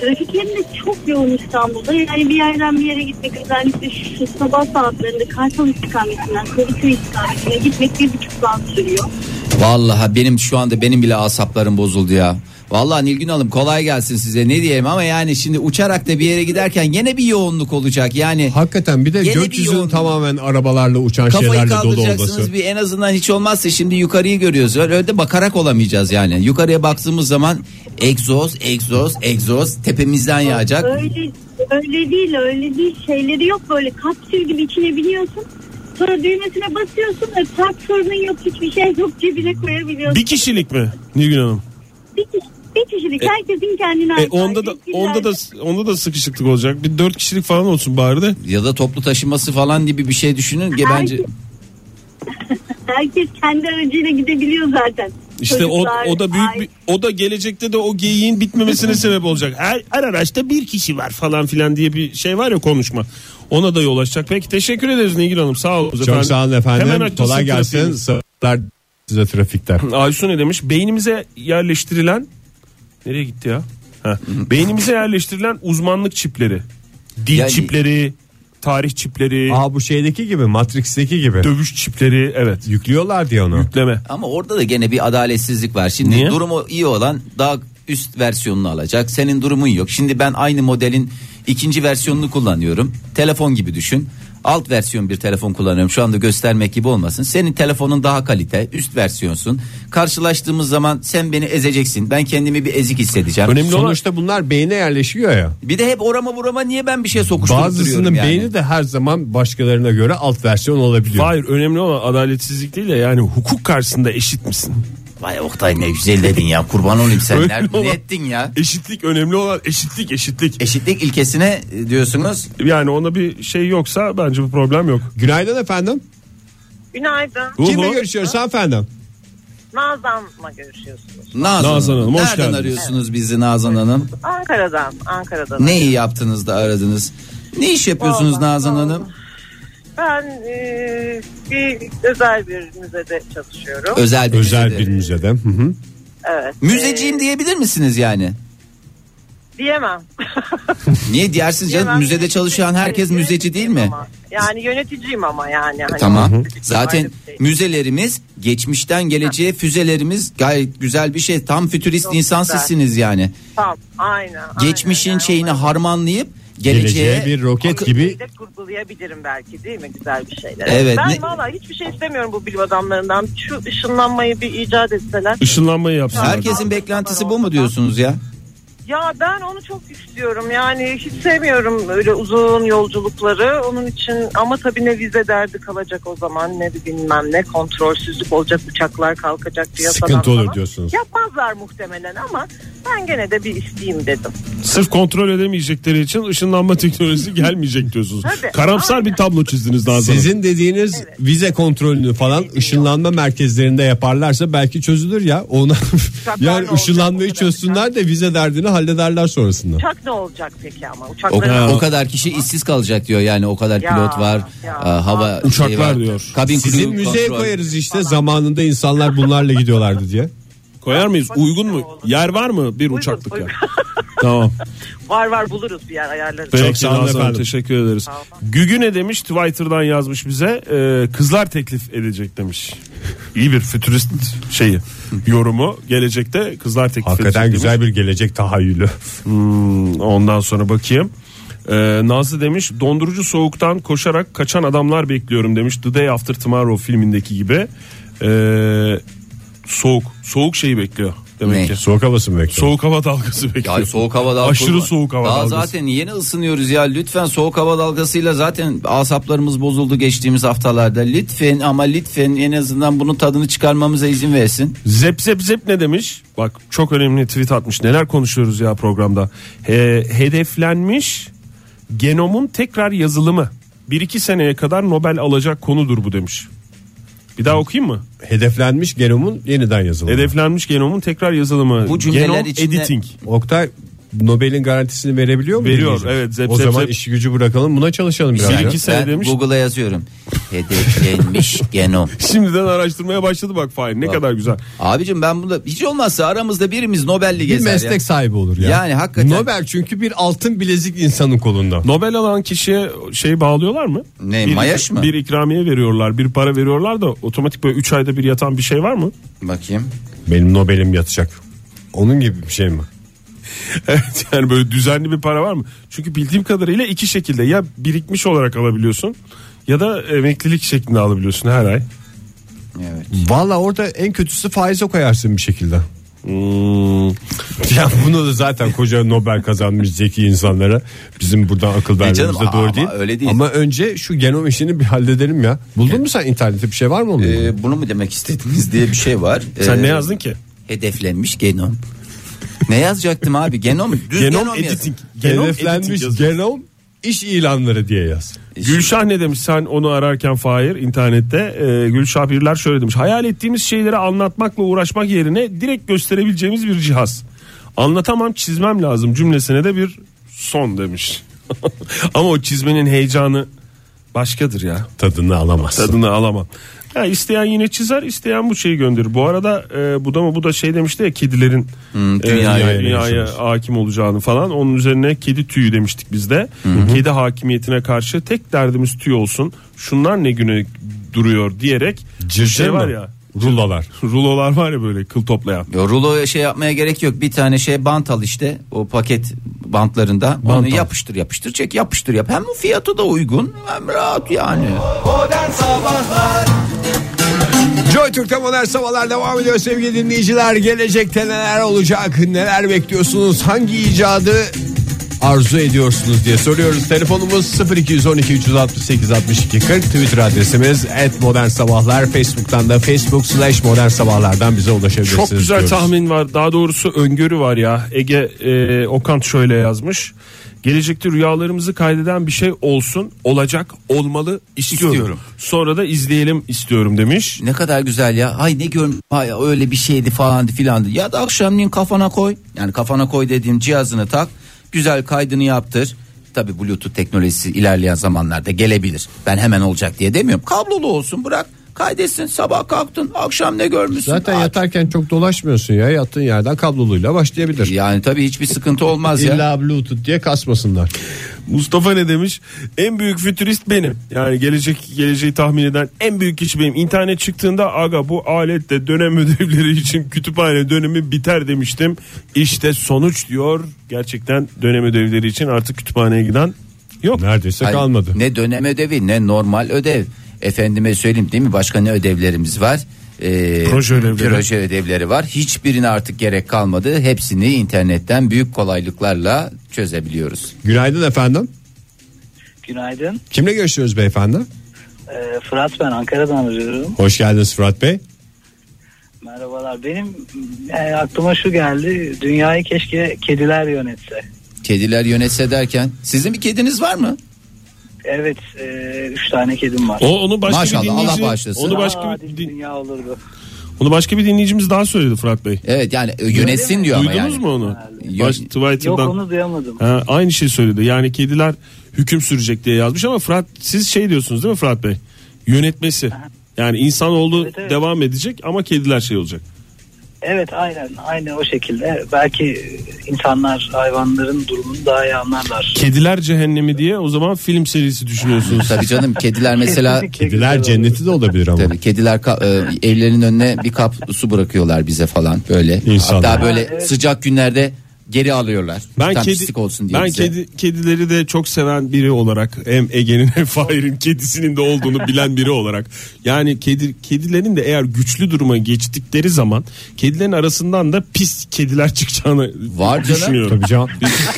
trafik yerinde çok yoğun İstanbul'da. Yani bir yerden bir yere gitmek özellikle şu sabah saatlerinde Kartal istikametinden Kadıköy istikametine gitmek bir buçuk saat sürüyor.
Vallahi benim şu anda benim bile asaplarım bozuldu ya. Vallahi Nilgün Hanım kolay gelsin size ne diyeyim ama yani şimdi uçarak da bir yere giderken yine bir yoğunluk olacak yani.
Hakikaten bir de
Yeni bir
gökyüzünün
yoğun-
tamamen arabalarla uçan
Kafayı
şeylerle dolu olması.
kaldıracaksınız bir en azından hiç olmazsa şimdi yukarıyı görüyoruz. Öyle, öyle de bakarak olamayacağız yani. Yukarıya baktığımız zaman egzoz, egzoz, egzoz tepemizden yağacak.
Öyle, öyle değil öyle değil şeyleri yok böyle kapsül gibi içine biniyorsun. Sonra düğmesine basıyorsun ve tak sorunun yok hiçbir şey yok cebine koyabiliyorsun.
Bir kişilik mi Nilgün Hanım?
Bir, kişi- bir kişilik herkesin kendine
E,
ait.
onda da onda da onda da sıkışıklık olacak. Bir dört kişilik falan olsun bari de.
Ya da toplu taşıması falan gibi bir şey düşünün ki bence
Herkes kendi aracıyla gidebiliyor zaten.
İşte o,
Çocuklar,
o da büyük
aile-
bir, o da gelecekte de o geyiğin bitmemesine sebep olacak. Her, her araçta bir kişi var falan filan diye bir şey var ya konuşma. Ona da yol açacak. Peki teşekkür ederiz Nilgün Hanım. Sağ olun
Çok sağ olun efendim.
açılsın
Kolay gelsin.
trafiğimiz.
Sabahlar size trafikte.
Aysu ne demiş? Beynimize yerleştirilen nereye gitti ya? Ha. Beynimize yerleştirilen uzmanlık çipleri. Dil
Yani-
çipleri, tarih çipleri,
Aa bu şeydeki gibi Matrix'teki gibi.
dövüş çipleri evet.
Yüklüyorlar diye onu.
Yükleme.
Ama orada da gene bir adaletsizlik var. Şimdi
Niye?
durumu iyi olan daha üst versiyonunu alacak. Senin durumun yok. Şimdi ben aynı modelin ikinci versiyonunu kullanıyorum. Telefon gibi düşün. Alt versiyon bir telefon kullanıyorum. Şu anda göstermek gibi olmasın. Senin telefonun daha kalite, üst versiyonsun. Karşılaştığımız zaman sen beni ezeceksin. Ben kendimi bir ezik hissedeceğim.
Önemli olan-
Sonuçta bunlar beyne yerleşiyor ya.
Bir de hep orama burama niye ben bir şey sokuşturup
Bazısının
duruyorum yani?
beyni de her zaman başkalarına göre alt versiyon olabiliyor.
Hayır önemli olan adaletsizlik değil de yani hukuk karşısında eşit misin?
Vay Oktay ne güzel dedin ya. Kurban olayım sen.
Öyle
Ne,
olan-
ne ettin ya?
Eşitlik önemli olan eşitlik eşitlik.
Eşitlik ilkesine e, diyorsunuz.
Yani ona bir şey yoksa bence bu problem yok.
Günaydın efendim.
Günaydın.
Bu
Kimle
mu?
görüşüyoruz efendim?
Nazan'la görüşüyorsunuz.
Nazan,
Nazan Hanım,
Hanım.
hoş
Nereden
geldiniz.
arıyorsunuz bizi Nazan Hanım?
Ankara'dan, Ankara'dan.
Neyi yaptınız da aradınız? Ne iş yapıyorsunuz Nazan Hanım?
Ben e, bir özel bir müzede çalışıyorum.
Özel bir
Özel
müzede.
bir müzede. Hı hı.
Evet.
Müzeciyim diyebilir misiniz yani?
e, Diyemem.
Niye dersiniz canım?
Diyemem.
Müzede çalışan herkes müzeci değil mi?
Yani yöneticiyim ama yani. Hani
Tamam.
müzeci
Zaten
ayrı bir şey.
müzelerimiz geçmişten geleceğe füzelerimiz gayet güzel bir şey. Tam fütürist
Çok
insan
güzel.
sizsiniz yani.
Tam aynen.
Geçmişin şeyini harmanlayıp geleceğe,
Geleceğe bir roket gibi
de kurgulayabilirim belki değil mi güzel bir şeyler.
Evet,
Ben
ne-
valla hiçbir şey istemiyorum bu bilim adamlarından. Şu ışınlanmayı bir icat etseler.
Işınlanmayı yapsınlar.
Herkesin beklentisi bu mu diyorsunuz ya?
Ya ben onu çok istiyorum yani hiç sevmiyorum öyle uzun yolculukları onun için ama tabii ne vize derdi kalacak o zaman ne de bilmem ne kontrolsüzlük olacak uçaklar kalkacak piyasadan
Sıkıntı olur
falan.
diyorsunuz.
Yapmazlar muhtemelen ama ben gene de bir isteyeyim dedim.
Sırf kontrol edemeyecekleri için ışınlanma teknolojisi gelmeyecek diyorsunuz.
Tabii,
Karamsar bir tablo çizdiniz Nazan Hanım.
Sizin dediğiniz vize kontrolünü falan ışınlanma merkezlerinde yaparlarsa belki çözülür ya. Ona yani
olacak
ışınlanmayı
o kadar
çözsünler de vize derdini hallederler sonrasında.
Uçak ne olacak peki ama
O,
uçakların
o kadar kişi işsiz kalacak diyor yani o kadar
Ya,
pilot var,
ya.
e, hava
Uçaklar
şeyi var.
diyor.
Kabin
Sizin
crew
müzeye
kontrol.
koyarız işte zamanında insanlar bunlarla gidiyorlardı diye.
Koyar mıyız? Uygun mu? Yer var mı? Bir uçaklık yer. tamam.
var var buluruz bir yer ayarlarız.
Peki
sağ olun
Nazan Hanım,
efendim.
teşekkür ederiz. Gügüne demiş Twitter'dan yazmış bize e, kızlar teklif edecek demiş. İyi bir fütürist şeyi yorumu gelecekte kızlar teklif
Hakikaten
edecek
güzel bir gelecek tahayyülü.
Hmm, ondan sonra bakayım. Ee, Nazlı demiş dondurucu soğuktan koşarak kaçan adamlar bekliyorum demiş. The Day After Tomorrow filmindeki gibi. Ee, soğuk. Soğuk şeyi bekliyor demek
Ne?
ki.
Soğuk havası mı bekliyor?
Soğuk hava dalgası bekliyor.
Ya soğuk hava dalgası.
Aşırı soğuk hava
Daha
dalgası.
zaten yeni ısınıyoruz ya. Lütfen soğuk hava dalgasıyla zaten asaplarımız bozuldu geçtiğimiz haftalarda. Lütfen ama lütfen en azından bunun tadını çıkarmamıza izin versin.
Zep zep zep ne demiş? Bak çok önemli tweet atmış. Neler konuşuyoruz ya programda. He- hedeflenmiş genomun tekrar yazılımı. Bir iki seneye kadar Nobel alacak konudur bu demiş. Bir daha okuyayım mı?
Hedeflenmiş genomun yeniden yazılımı.
Hedeflenmiş genomun tekrar yazılımı.
Bu cümleler
Genom
içinde-
editing.
Oktay Nobel'in garantisini verebiliyor mu?
Veriyor,
dinleyicimiz?
evet. Zep,
o
zep,
zaman
zep.
işi gücü bırakalım buna çalışalım biraz.
Bir
ya.
iki sene
ben
demiş.
Google'a yazıyorum. Hedeflenmiş genom.
Şimdiden araştırmaya başladı bak Fahir ne kadar güzel.
Abicim ben bunu hiç olmazsa aramızda birimiz Nobel'li
Bir
gezer ya.
meslek sahibi olur ya.
Yani hakikaten.
Nobel çünkü bir altın bilezik insanın kolunda.
Nobel alan kişiye şey bağlıyorlar mı?
Ne,
bir,
mayaş mı?
Bir ikramiye veriyorlar bir para veriyorlar da otomatik böyle 3 ayda bir yatan bir şey var mı?
Bakayım.
Benim Nobel'im yatacak. Onun gibi bir şey mi?
Evet yani böyle düzenli bir para var mı? Çünkü bildiğim kadarıyla iki şekilde ya birikmiş olarak alabiliyorsun ya da emeklilik şeklinde alabiliyorsun her ay.
Evet.
Valla orada en kötüsü faize koyarsın bir şekilde.
Hmm.
Ya bunu da zaten koca Nobel kazanmış zeki insanlara bizim buradan akıl vermemiz
E canım,
de doğru
ama
değil.
öyle değil.
Ama önce şu genom işini bir halledelim ya. Buldun mu sen internette bir şey var mı onun?
Ee, bunu mu demek istediniz diye bir şey var.
Sen
Ee,
ne yazdın ki?
Hedeflenmiş genom. ne yazacaktım abi? Genom. Düz genom,
Genom
yazın.
editing. Genom editing
Hedeflenmiş
yazıyor.
genom iş ilanları diye yaz.
Gülşah ne demiş sen onu ararken Fahir internette e, Gülşah Birler şöyle demiş hayal ettiğimiz şeyleri anlatmakla uğraşmak yerine direkt gösterebileceğimiz bir cihaz anlatamam çizmem lazım cümlesine de bir son demiş ama o çizmenin heyecanı başkadır ya
Tadını alamazsın.
tadını alamam ya isteyen yine çizer isteyen bu şeyi gönderir bu arada e, bu da mı bu da şey demişti ya kedilerin e,
dünyaya-
dünyaya, hakim olacağını falan onun üzerine kedi tüyü demiştik biz de kedi hakimiyetine karşı tek derdimiz tüy olsun şunlar ne güne duruyor diyerek
Cırcır
şey var
mı?
ya
Rulolar.
rulolar var ya böyle kıl toplayan
Ya Rulo şey yapmaya gerek yok. Bir tane şey bant al işte. O paket bantlarında. Onu
al.
yapıştır yapıştır çek yapıştır yap. Hem fiyatı da uygun hem rahat yani.
Joy Türk'te modern sabahlar devam ediyor sevgili dinleyiciler. Gelecekte neler olacak, neler bekliyorsunuz, hangi icadı arzu ediyorsunuz diye soruyoruz. Telefonumuz 0212 368 62 40 Twitter adresimiz et modern sabahlar. Facebook'tan da facebook slash modern sabahlardan bize ulaşabilirsiniz.
Çok güzel
diyoruz.
tahmin var. Daha doğrusu öngörü var ya. Ege e, Okan şöyle yazmış. Gelecekte rüyalarımızı kaydeden bir şey olsun, olacak, olmalı istiyorum.
İstiyorum.
Sonra da izleyelim istiyorum demiş.
Ne kadar güzel ya. Ay ne görm Ay, öyle bir şeydi falan filandı. Ya da akşamleyin kafana koy. Yani kafana koy dediğim cihazını tak. Güzel kaydını yaptır. Tabi Bluetooth teknolojisi ilerleyen zamanlarda gelebilir. Ben hemen olacak diye demiyorum. Kablolu olsun bırak. Kaydetsin sabah kalktın akşam ne görmüşsün.
Zaten
Aa,
yatarken çok dolaşmıyorsun ya. Yattığın yerden kabloluyla başlayabilir.
Yani tabii hiçbir sıkıntı olmaz ya.
İlla Bluetooth diye kasmasınlar.
Mustafa ne demiş? En büyük fütürist benim. Yani gelecek geleceği tahmin eden en büyük kişi benim. İnternet çıktığında aga bu aletle dönem ödevleri için kütüphane dönemi biter demiştim. İşte sonuç diyor. Gerçekten dönem ödevleri için artık kütüphaneye giden yok.
Neredeyse
Hayır, Ne dönem ödevi ne normal ödev. Efendime söyleyeyim değil mi? Başka ne ödevlerimiz var? Ee,
Proje ödevleri.
proje ödevleri var. Hiçbirine artık gerek kalmadı. Hepsini internetten büyük kolaylıklarla çözebiliyoruz.
Günaydın efendim.
Günaydın.
Kimle görüşüyoruz beyefendi?
Ee, Fırat ben Ankara'dan arıyorum.
Hoş geldiniz Fırat Bey.
Merhabalar. Benim e, aklıma şu geldi. Dünyayı keşke kediler yönetse.
Kediler yönetse derken sizin bir kediniz var mı?
Evet. E, üç tane kedim var.
O onu başka
Maşallah,
bir
Allah
dinleyici,
bağışlasın.
Onu başka
Daha
bir,
adil dünya olurdu.
onu başka bir dinleyicimiz daha söyledi Fırat Bey.
Evet yani yönetsin diyor ama
Duydunuz
yani.
mu onu?
Yo-
Baş, Twitter'dan.
Yok onu duyamadım.
Ha, aynı şey söyledi. Yani kediler hüküm sürecek diye yazmış ama Fırat siz şey diyorsunuz değil mi Fırat Bey? Yönetmesi. Yani insanoğlu
Evet, evet.
devam edecek ama kediler şey olacak.
Evet aynen. Aynı o şekilde. Belki insanlar hayvanların durumunu daha iyi anlarlar.
Kediler cehennemi diye o zaman film serisi düşünüyorsunuz.
Tabii canım kediler mesela
Kesinlikle güzel olur.
cenneti de olabilir ama.
Tabii kediler ka- e, evlerinin önüne bir kap su bırakıyorlar bize falan böyle.
İnsanlar.
Hatta böyle
Ha, evet.
sıcak günlerde geri alıyorlar.
Ben
Tam
kedi
pislik olsun diye
ben
bize.
kedi kedileri de çok seven biri olarak hem Ege'nin hem Fahir'in kedisinin de olduğunu bilen biri olarak yani kedi kedilerin de eğer güçlü duruma geçtikleri zaman kedilerin arasından da pis kediler çıkacağını
Var canım.
düşünüyorum.
Tabii canım.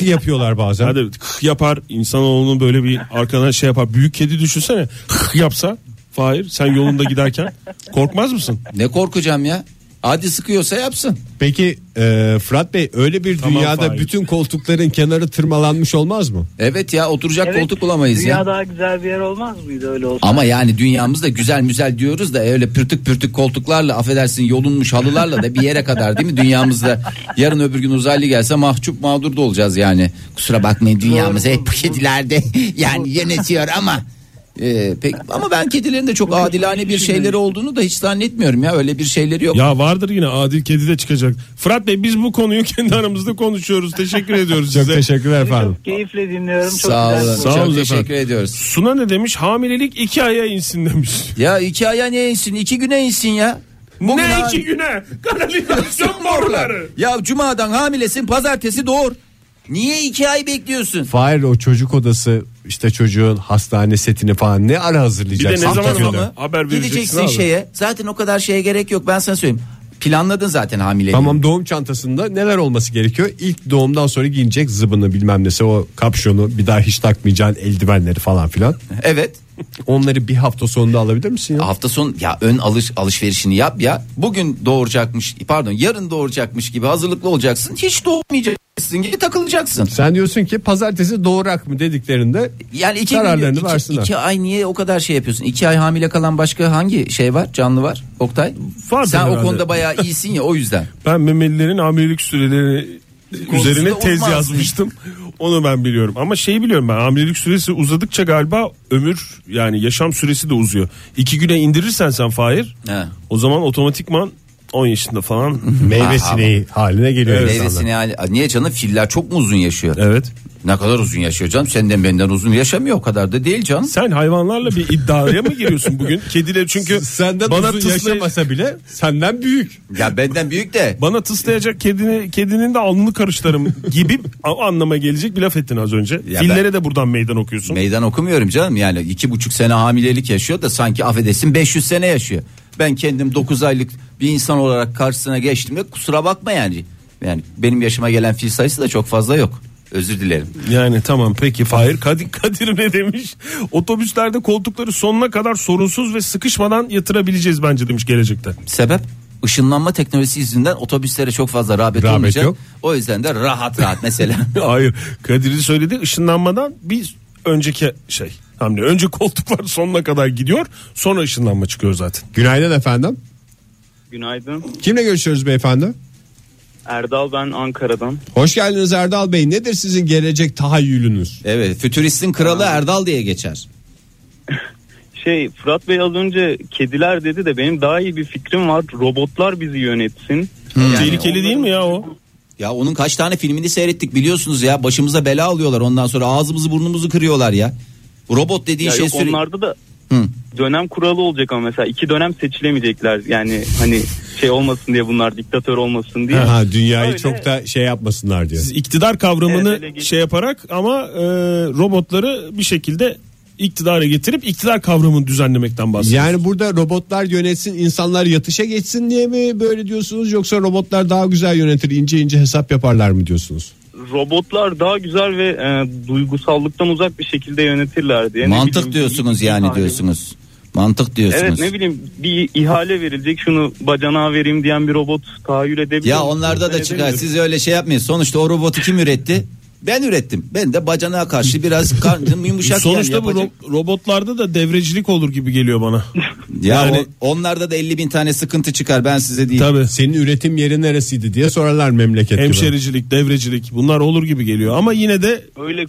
yapıyorlar bazen.
Hadi kıh yapar insanoğlunun böyle bir arkana şey yapar büyük kedi düşünsene kıh yapsa Fahir sen yolunda giderken korkmaz mısın?
Ne korkacağım ya? Hadi sıkıyorsa yapsın.
Peki e, Fırat Bey öyle bir
Tamam,
dünyada
Fahir.
bütün koltukların kenarı tırmalanmış olmaz mı?
Evet ya oturacak
Evet,
koltuk bulamayız
dünya
ya.
daha güzel bir yer olmaz mıydı öyle olsa?
Ama yani dünyamız da güzel müzel diyoruz da öyle pürtük pürtük koltuklarla affedersin yolunmuş halılarla da bir yere kadar değil mi dünyamızda yarın öbür gün uzaylı gelse mahcup mağdur da olacağız yani. Kusura bakmayın dünyamız hep kedilerde yani yönetiyor ama Ee, pek, ama ben kedilerin de çok adilane bir şeyleri olduğunu da hiç zannetmiyorum ya öyle bir şeyleri yok.
Ya vardır yine adil kedi de çıkacak. Fırat Bey biz bu konuyu kendi aramızda konuşuyoruz. Teşekkür ediyoruz
Çok
size.
teşekkürler efendim.
Keyifle dinliyorum. Çok
Sağ
güzel
olun.
bir
Sağ
çok
olun
teşekkür
efendim.
ediyoruz.
Suna ne demiş? Hamilelik iki aya insin demiş.
Ya iki aya ne insin? iki güne insin ya. Bugün
ne
ha-
iki güne? Kanalizasyon boruları.
Ya cumadan hamilesin pazartesi doğur. Niye iki ay bekliyorsun?
Fahir o çocuk odası işte çocuğun hastane setini falan ne ara
Bir de ne
hazırlayacaksın?
zaman
Hakikaten.
ama haber vereceksin
Gideceksin
abi.
şeye. Zaten o kadar şeye gerek yok ben sana söyleyeyim. Planladın zaten hamileliği.
Tamam doğum çantasında neler olması gerekiyor? İlk doğumdan sonra giyinecek zıbını bilmem nesi o kapşonu bir daha hiç takmayacağın eldivenleri falan filan.
Evet.
Onları bir hafta sonunda alabilir misin ya?
Hafta sonu ya ön alış alışverişini yap ya. Bugün doğuracakmış pardon yarın doğuracakmış gibi hazırlıklı olacaksın. Hiç doğmayacaksın gibi takılacaksın.
Sen diyorsun ki pazartesi doğurak mı dediklerinde
Yani iki,
kararlarını
iki,
versinler.
iki ay niye o kadar şey yapıyorsun? İki ay hamile kalan başka hangi şey var? Canlı var? Oktay?
Vardır
Sen o
herhalde.
konuda bayağı iyisin ya o yüzden.
Ben memelilerin hamilelik süreleri üzerine tez
olmaz.
yazmıştım. Onu ben biliyorum ama şeyi biliyorum ben hamilelik süresi uzadıkça galiba ömür yani yaşam süresi de uzuyor. İki güne indirirsen sen Fahir
He.
o zaman otomatikman 10 yaşında falan.
Meyve sineği haline geliyor
Evet,
insanlar.
niye canım filler çok mu uzun yaşıyor?
evet.
Ne kadar uzun yaşıyor canım? Senden benden uzun yaşamıyor o kadar da değil canım.
Sen hayvanlarla bir iddiaya mı giriyorsun bugün? Kediler çünkü
Senden
bana
uzun
tıslay-
yaşamasa bile senden büyük.
Ya benden büyük de.
Bana tıslayacak kedini, kedinin de alnını karıştırırım gibi a- anlama gelecek bir laf ettin az önce.
ben-
Fillere de buradan meydan okuyorsun.
Meydan okumuyorum canım yani iki buçuk sene hamilelik yaşıyor da sanki affedersin 500 sene yaşıyor. Ben kendim 9 aylık bir insan olarak karşısına geçtiğimde kusura bakma yani. Yani benim yaşıma gelen fil sayısı da çok fazla yok. Özür dilerim.
yani tamam peki Fahir Kadir, Kadir ne demiş? Otobüslerde koltukları sonuna kadar sorunsuz ve sıkışmadan yatırabileceğiz bence demiş gelecekte.
Sebep? Işınlanma teknolojisi yüzünden otobüslere çok fazla rağbet,
Rağbet
olmayacak.
yok.
O yüzden de rahat rahat mesela.
Hayır Kadir'in söylediği ışınlanmadan bir önceki şey hamle. Önce koltuklar sonuna kadar gidiyor sonra ışınlanma çıkıyor zaten.
Günaydın efendim.
Günaydın.
Kimle görüşüyoruz beyefendi?
Erdal ben Ankara'dan.
Hoş geldiniz Erdal Bey. Nedir sizin gelecek tahayyülünüz?
Evet, fütüristin kralı Erdal diye geçer.
Şey Fırat Bey az önce kediler dedi de benim daha iyi bir fikrim var. Robotlar bizi yönetsin.
Tehlikeli değil mi ya o? Ya onun kaç tane filmini seyrettik biliyorsunuz ya. Başımıza bela alıyorlar ondan sonra ağzımızı burnumuzu kırıyorlar ya. Bu Robot dediği
Ya
şey
yok,
sürekli...
onlarda da dönem kuralı olacak ama mesela iki dönem seçilemeyecekler. Yani hani şey olmasın diye bunlar diktatör olmasın diye.
Ha, dünyayı çok da şey yapmasınlar diye.
Siz iktidar kavramını şey yaparak ama e, robotları bir şekilde iktidara getirip iktidar kavramını düzenlemekten bahsediyoruz.
Yani burada robotlar yönetsin insanlar yatışa geçsin diye mi böyle diyorsunuz yoksa robotlar daha güzel yönetir ince ince hesap yaparlar mı diyorsunuz?
Robotlar daha güzel ve e, duygusallıktan uzak bir şekilde yönetirler diye. Ne
Mantık
bileyim,
diyorsunuz yani diyorsunuz. Mantık diyorsunuz.
Evet ne bileyim bir ihale verilecek şunu bacana vereyim diyen bir robot tahayyül edebiliyor.
Ya onlarda da
musunuz?
çıkar.
Edemiyorum.
Siz öyle şey yapmayın. Sonuçta o robotu kim üretti? Ben ürettim. Ben de bacana karşı biraz karnım yumuşak.
Sonuçta
yani
bu
yapacak-
ro- robotlarda da devrecilik olur gibi geliyor bana.
Ya
yani
o- onlarda da 50 bin tane sıkıntı çıkar ben size diyeyim.
Tabii.
Senin üretim yeri neresiydi diye sorarlar memleket gibi.
hemşericilik, devrecilik bunlar olur gibi geliyor ama yine de
öyle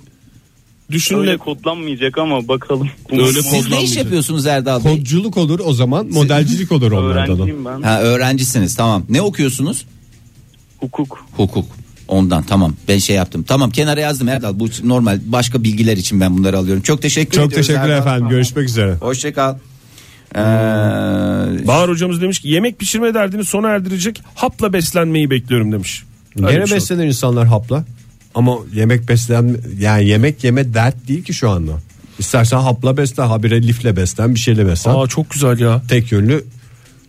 düşünle
öyle kodlanmayacak ama bakalım.
Siz ne iş yapıyorsunuz Erdal Bey?
Kodculuk olur o zaman modelcilik olur onlardan.
Öğrenciyim ben.
Ha, öğrencisiniz tamam. Ne okuyorsunuz?
Hukuk.
Hukuk. Ondan tamam ben şey yaptım. Tamam kenara yazdım Erdal. Bu normal başka bilgiler için ben bunları alıyorum. Çok teşekkür
Çok
ediyoruz
teşekkür
Erdal.
efendim görüşmek üzere.
Hoşçakal. Ee,
Bahar hocamız demiş ki yemek pişirme derdini sona erdirecek hapla beslenmeyi bekliyorum demiş. Öyle
Gene
bir şey.
beslenir insanlar hapla. Ama yemek beslen yani yemek yeme dert değil ki şu anda. İstersen hapla beslen, habire lifle beslen, bir şeyle beslen.
Aa, çok güzel ya.
Tek yönlü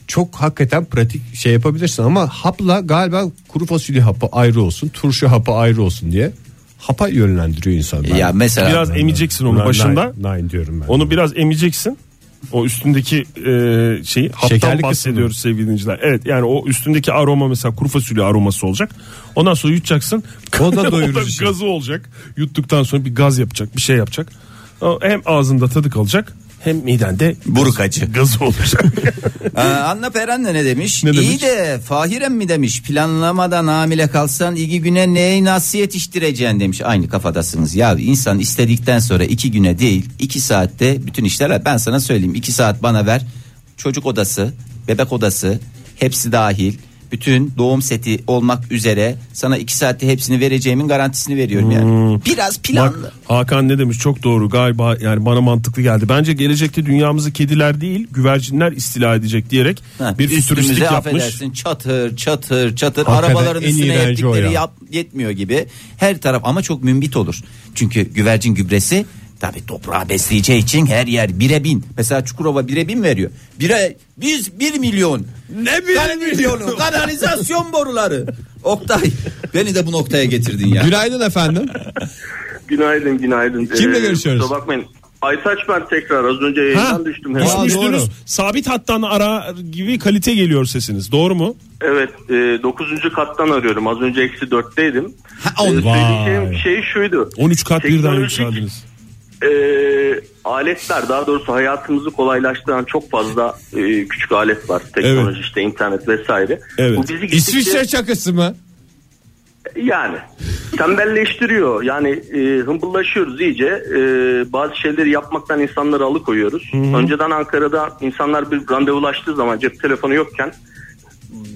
çok hakikaten pratik şey yapabilirsin ama hapla galiba kuru fasulye hapı ayrı olsun, turşu hapı ayrı olsun diye hapa yönlendiriyor insanlar.
Ya mesela-
Biraz emeceksin onu
Ben
başında.
Nine, nine diyorum ben.
Onu biraz emeceksin. O üstündeki e, şeyi haptan
Şekerli
bahsediyoruz sevgili dinleyiciler. Evet yani o üstündeki aroma mesela kuru fasulye aroması olacak. Ondan sonra yutacaksın.
O da doyurucu şey.
gazı olacak. Yuttuktan sonra bir gaz yapacak bir şey yapacak. O Hem ağzında tadı kalacak hem midende
burukacı
gazı olacak.
Ee, Anna Peren de ne demiş?
Ne demiş?
İyi de Fahirem mi demiş? Planlamadan hamile kalsan iki güne neyi nasıl yetiştireceksin demiş. Aynı kafadasınız. Ya insan istedikten sonra iki güne değil iki saatte bütün işler. Ben sana söyleyeyim iki saat bana ver. Çocuk odası, bebek odası hepsi dahil. Bütün doğum seti olmak üzere sana iki saatte hepsini vereceğimin garantisini veriyorum yani. Biraz planlı.
Hmm. Bak, Hakan ne demiş çok doğru galiba yani bana mantıklı geldi. Bence gelecekte dünyamızı kediler değil güvercinler istila edecek diyerek
Ha,
bir fütüristik
üstümüze
yapmış.
affedersin çatır çatır çatır
Hakikaten
arabaların
en
üstüne
iğrenci o
yaptıkları
ya.
yap, yetmiyor gibi her taraf ama çok mümbit olur. Çünkü güvercin gübresi tabi toprağı besleyeceği için her yer bire bin. Mesela Çukurova bire bin veriyor. Bire, biz bir milyon. Ne bir milyonu? Kanalizasyon boruları. Oktay beni de bu noktaya getirdin ya.
Günaydın efendim.
Günaydın günaydın. Ee,
Kimle görüşüyoruz?
kusura bakmayın. Aytaç ben tekrar az önce yayından düştüm. herhalde.
Düşmüştünüz. Sabit hattan ara gibi kalite geliyor sesiniz. Doğru mu?
Evet 9. kattan arıyorum. Az önce eksi 4'teydim.
on-
E, söyleyeceğim
Vay.
şey şuydu.
13 kat birden
Teknolojik-
yükseldiniz.
E, aletler daha doğrusu hayatımızı kolaylaştıran çok fazla e, küçük alet var. Teknoloji işte internet vesaire.
Evet.
Bu bizi gittikçe-
İsviçre çakısı mı?
Yani tembelleştiriyor. Yani e, hımbıllaşıyoruz iyice. E, bazı şeyleri yapmaktan insanları alıkoyuyoruz.
Hı hı.
Önceden Ankara'da insanlar bir randevulaştığı zaman cep telefonu yokken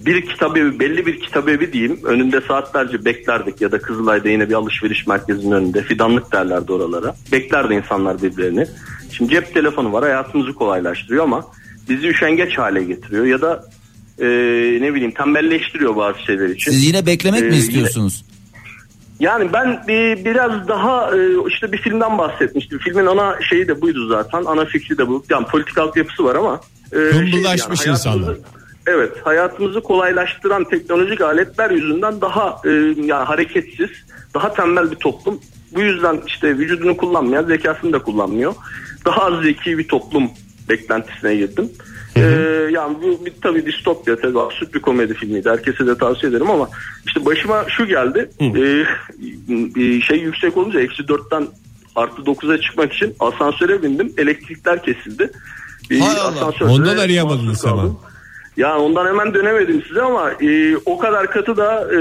bir kitabevi belli bir kitabevi diyeyim önünde saatlerce beklerdik ya da Kızılay'da yine bir alışveriş merkezinin önünde fidanlık derlerdi oralara. Beklerdi insanlar birbirlerini. Şimdi cep telefonu var hayatımızı kolaylaştırıyor ama bizi üşengeç hale getiriyor ya da e, ne bileyim tembelleştiriyor bazı şeyler için.
Siz yine beklemek
E,
mi
yine-
istiyorsunuz?
yani ben bir, biraz daha e, işte bir filmden bahsetmiştim. Filmin ana şeyi de buydu zaten. Ana fikri de bu. Yani politik altyapısı var ama. e, şey, yani
Hımbıllaşmış
hayatımızı-
insanlar.
Evet hayatımızı kolaylaştıran teknolojik aletler yüzünden daha e, yani hareketsiz, daha tembel bir toplum. Bu yüzden işte vücudunu kullanmayan zekasını da kullanmıyor. Daha az zeki bir toplum beklentisine girdim. E, yani bu bir, tabii distopya tabii absürt bir komedi filmiydi. Herkese de tavsiye ederim ama işte başıma şu geldi. E, e, şey yüksek olunca eksi dörtten artı 9'a çıkmak için asansöre bindim. Elektrikler kesildi. Bir asansörde
Ondan arayamadınız
mahsur kaldım.
hemen.
Ya ondan hemen dönemedim size ama e, o kadar katı da e,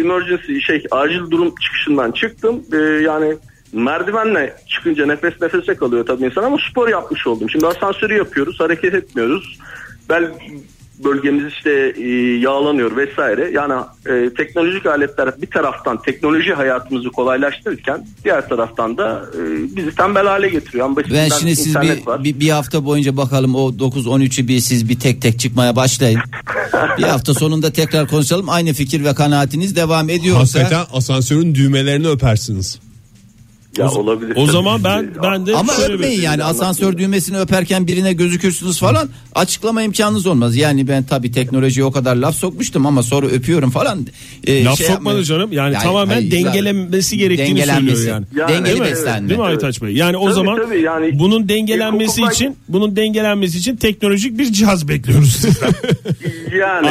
emergency şey acil durum çıkışından çıktım. E, yani merdivenle çıkınca nefes nefese kalıyor tabii insan ama spor yapmış oldum. Şimdi asansörü yapıyoruz, hareket etmiyoruz. Bel bölgemiz işte e, yağlanıyor vesaire. Yani e, teknolojik aletler bir taraftan teknoloji hayatımızı kolaylaştırırken diğer taraftan da e, bizi tembel hale getiriyor. En basitinden
Ben şimdi siz
internet
bir, bir, bir hafta boyunca bakalım o 9-13'ü bir siz bir tek tek çıkmaya başlayın. bir hafta sonunda tekrar konuşalım. Aynı fikir ve kanaatiniz devam ediyorsa.
Hakikaten asansörün düğmelerini öpersiniz.
Ya olabilir.
O zaman ben ben de
Ama
şöyle bir- şey
öpmeyin yani asansör düğmesini öperken birine gözükürsünüz falan açıklama imkanınız olmaz. Yani ben tabii teknolojiye o kadar laf sokmuştum ama sonra öpüyorum falan. Ee,
Laf
şey
sokmadı
yapmayın.
canım. Yani tamamen
hayır,
dengelenmesi gerektiğini
dengelenmesi.
söylüyor yani.
Dengeli
Değil mi?
beslenme.
Değil mi Aytaç Bey? Yani o
Tabii,
zaman
tabii
bunun dengelenmesi
hukuk-
için bunun dengelenmesi için teknolojik bir cihaz bekliyoruz sizden.
yani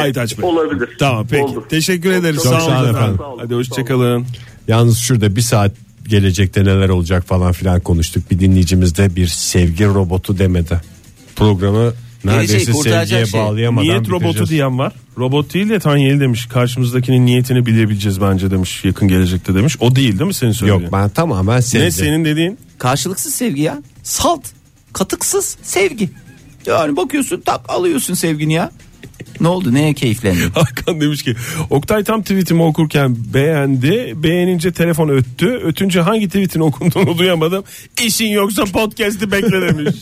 Aytaç Bey.
olabilir.
Tamam peki. Teşekkür ederiz.
Çok sağ olun efendim.
Hadi hoşçakalın.
Yalnız şurada bir saat gelecekte neler olacak falan filan konuştuk. Bir dinleyicimiz de bir sevgi robotu demedi. Programı neredeyse sevgiye bağlayamadan
Niyet robotu
bitireceğiz.
diyen var. Robot değil de Tanyeli demiş. Karşımızdakinin niyetini bilebileceğiz bence demiş. Yakın gelecekte demiş. O değil değil mi senin söylediğin? Yok
ben tamamen sevgi.
Ne senin dediğin?
Karşılıksız sevgi ya. Salt, katıksız sevgi. Yani bakıyorsun tak alıyorsun sevgini ya. Ne oldu neye keyiflendin?
Hakan demiş ki Oktay tam tweetimi okurken beğendi. Beğenince telefon öttü. Ötünce hangi tweetin okunduğunu duyamadım. İşin yoksa podcast'i bekle demiş.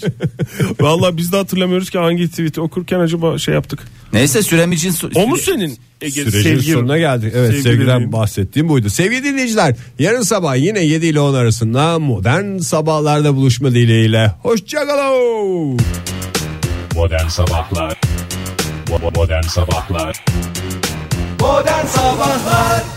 Valla biz de hatırlamıyoruz ki hangi tweeti okurken acaba şey yaptık.
Neyse sürem için...
o mu senin? Ege,
Sürecin
E, sevgi-
sonuna geldik. Evet
sevgi
sevgiden
dediğin?
bahsettiğim buydu. Sevgili dinleyiciler yarın sabah yine 7 ile 10 arasında modern sabahlarda buluşma dileğiyle. Hoşçakalın.
Modern Sabahlar Bo- Modern Sabahlar
Modern Sabahlar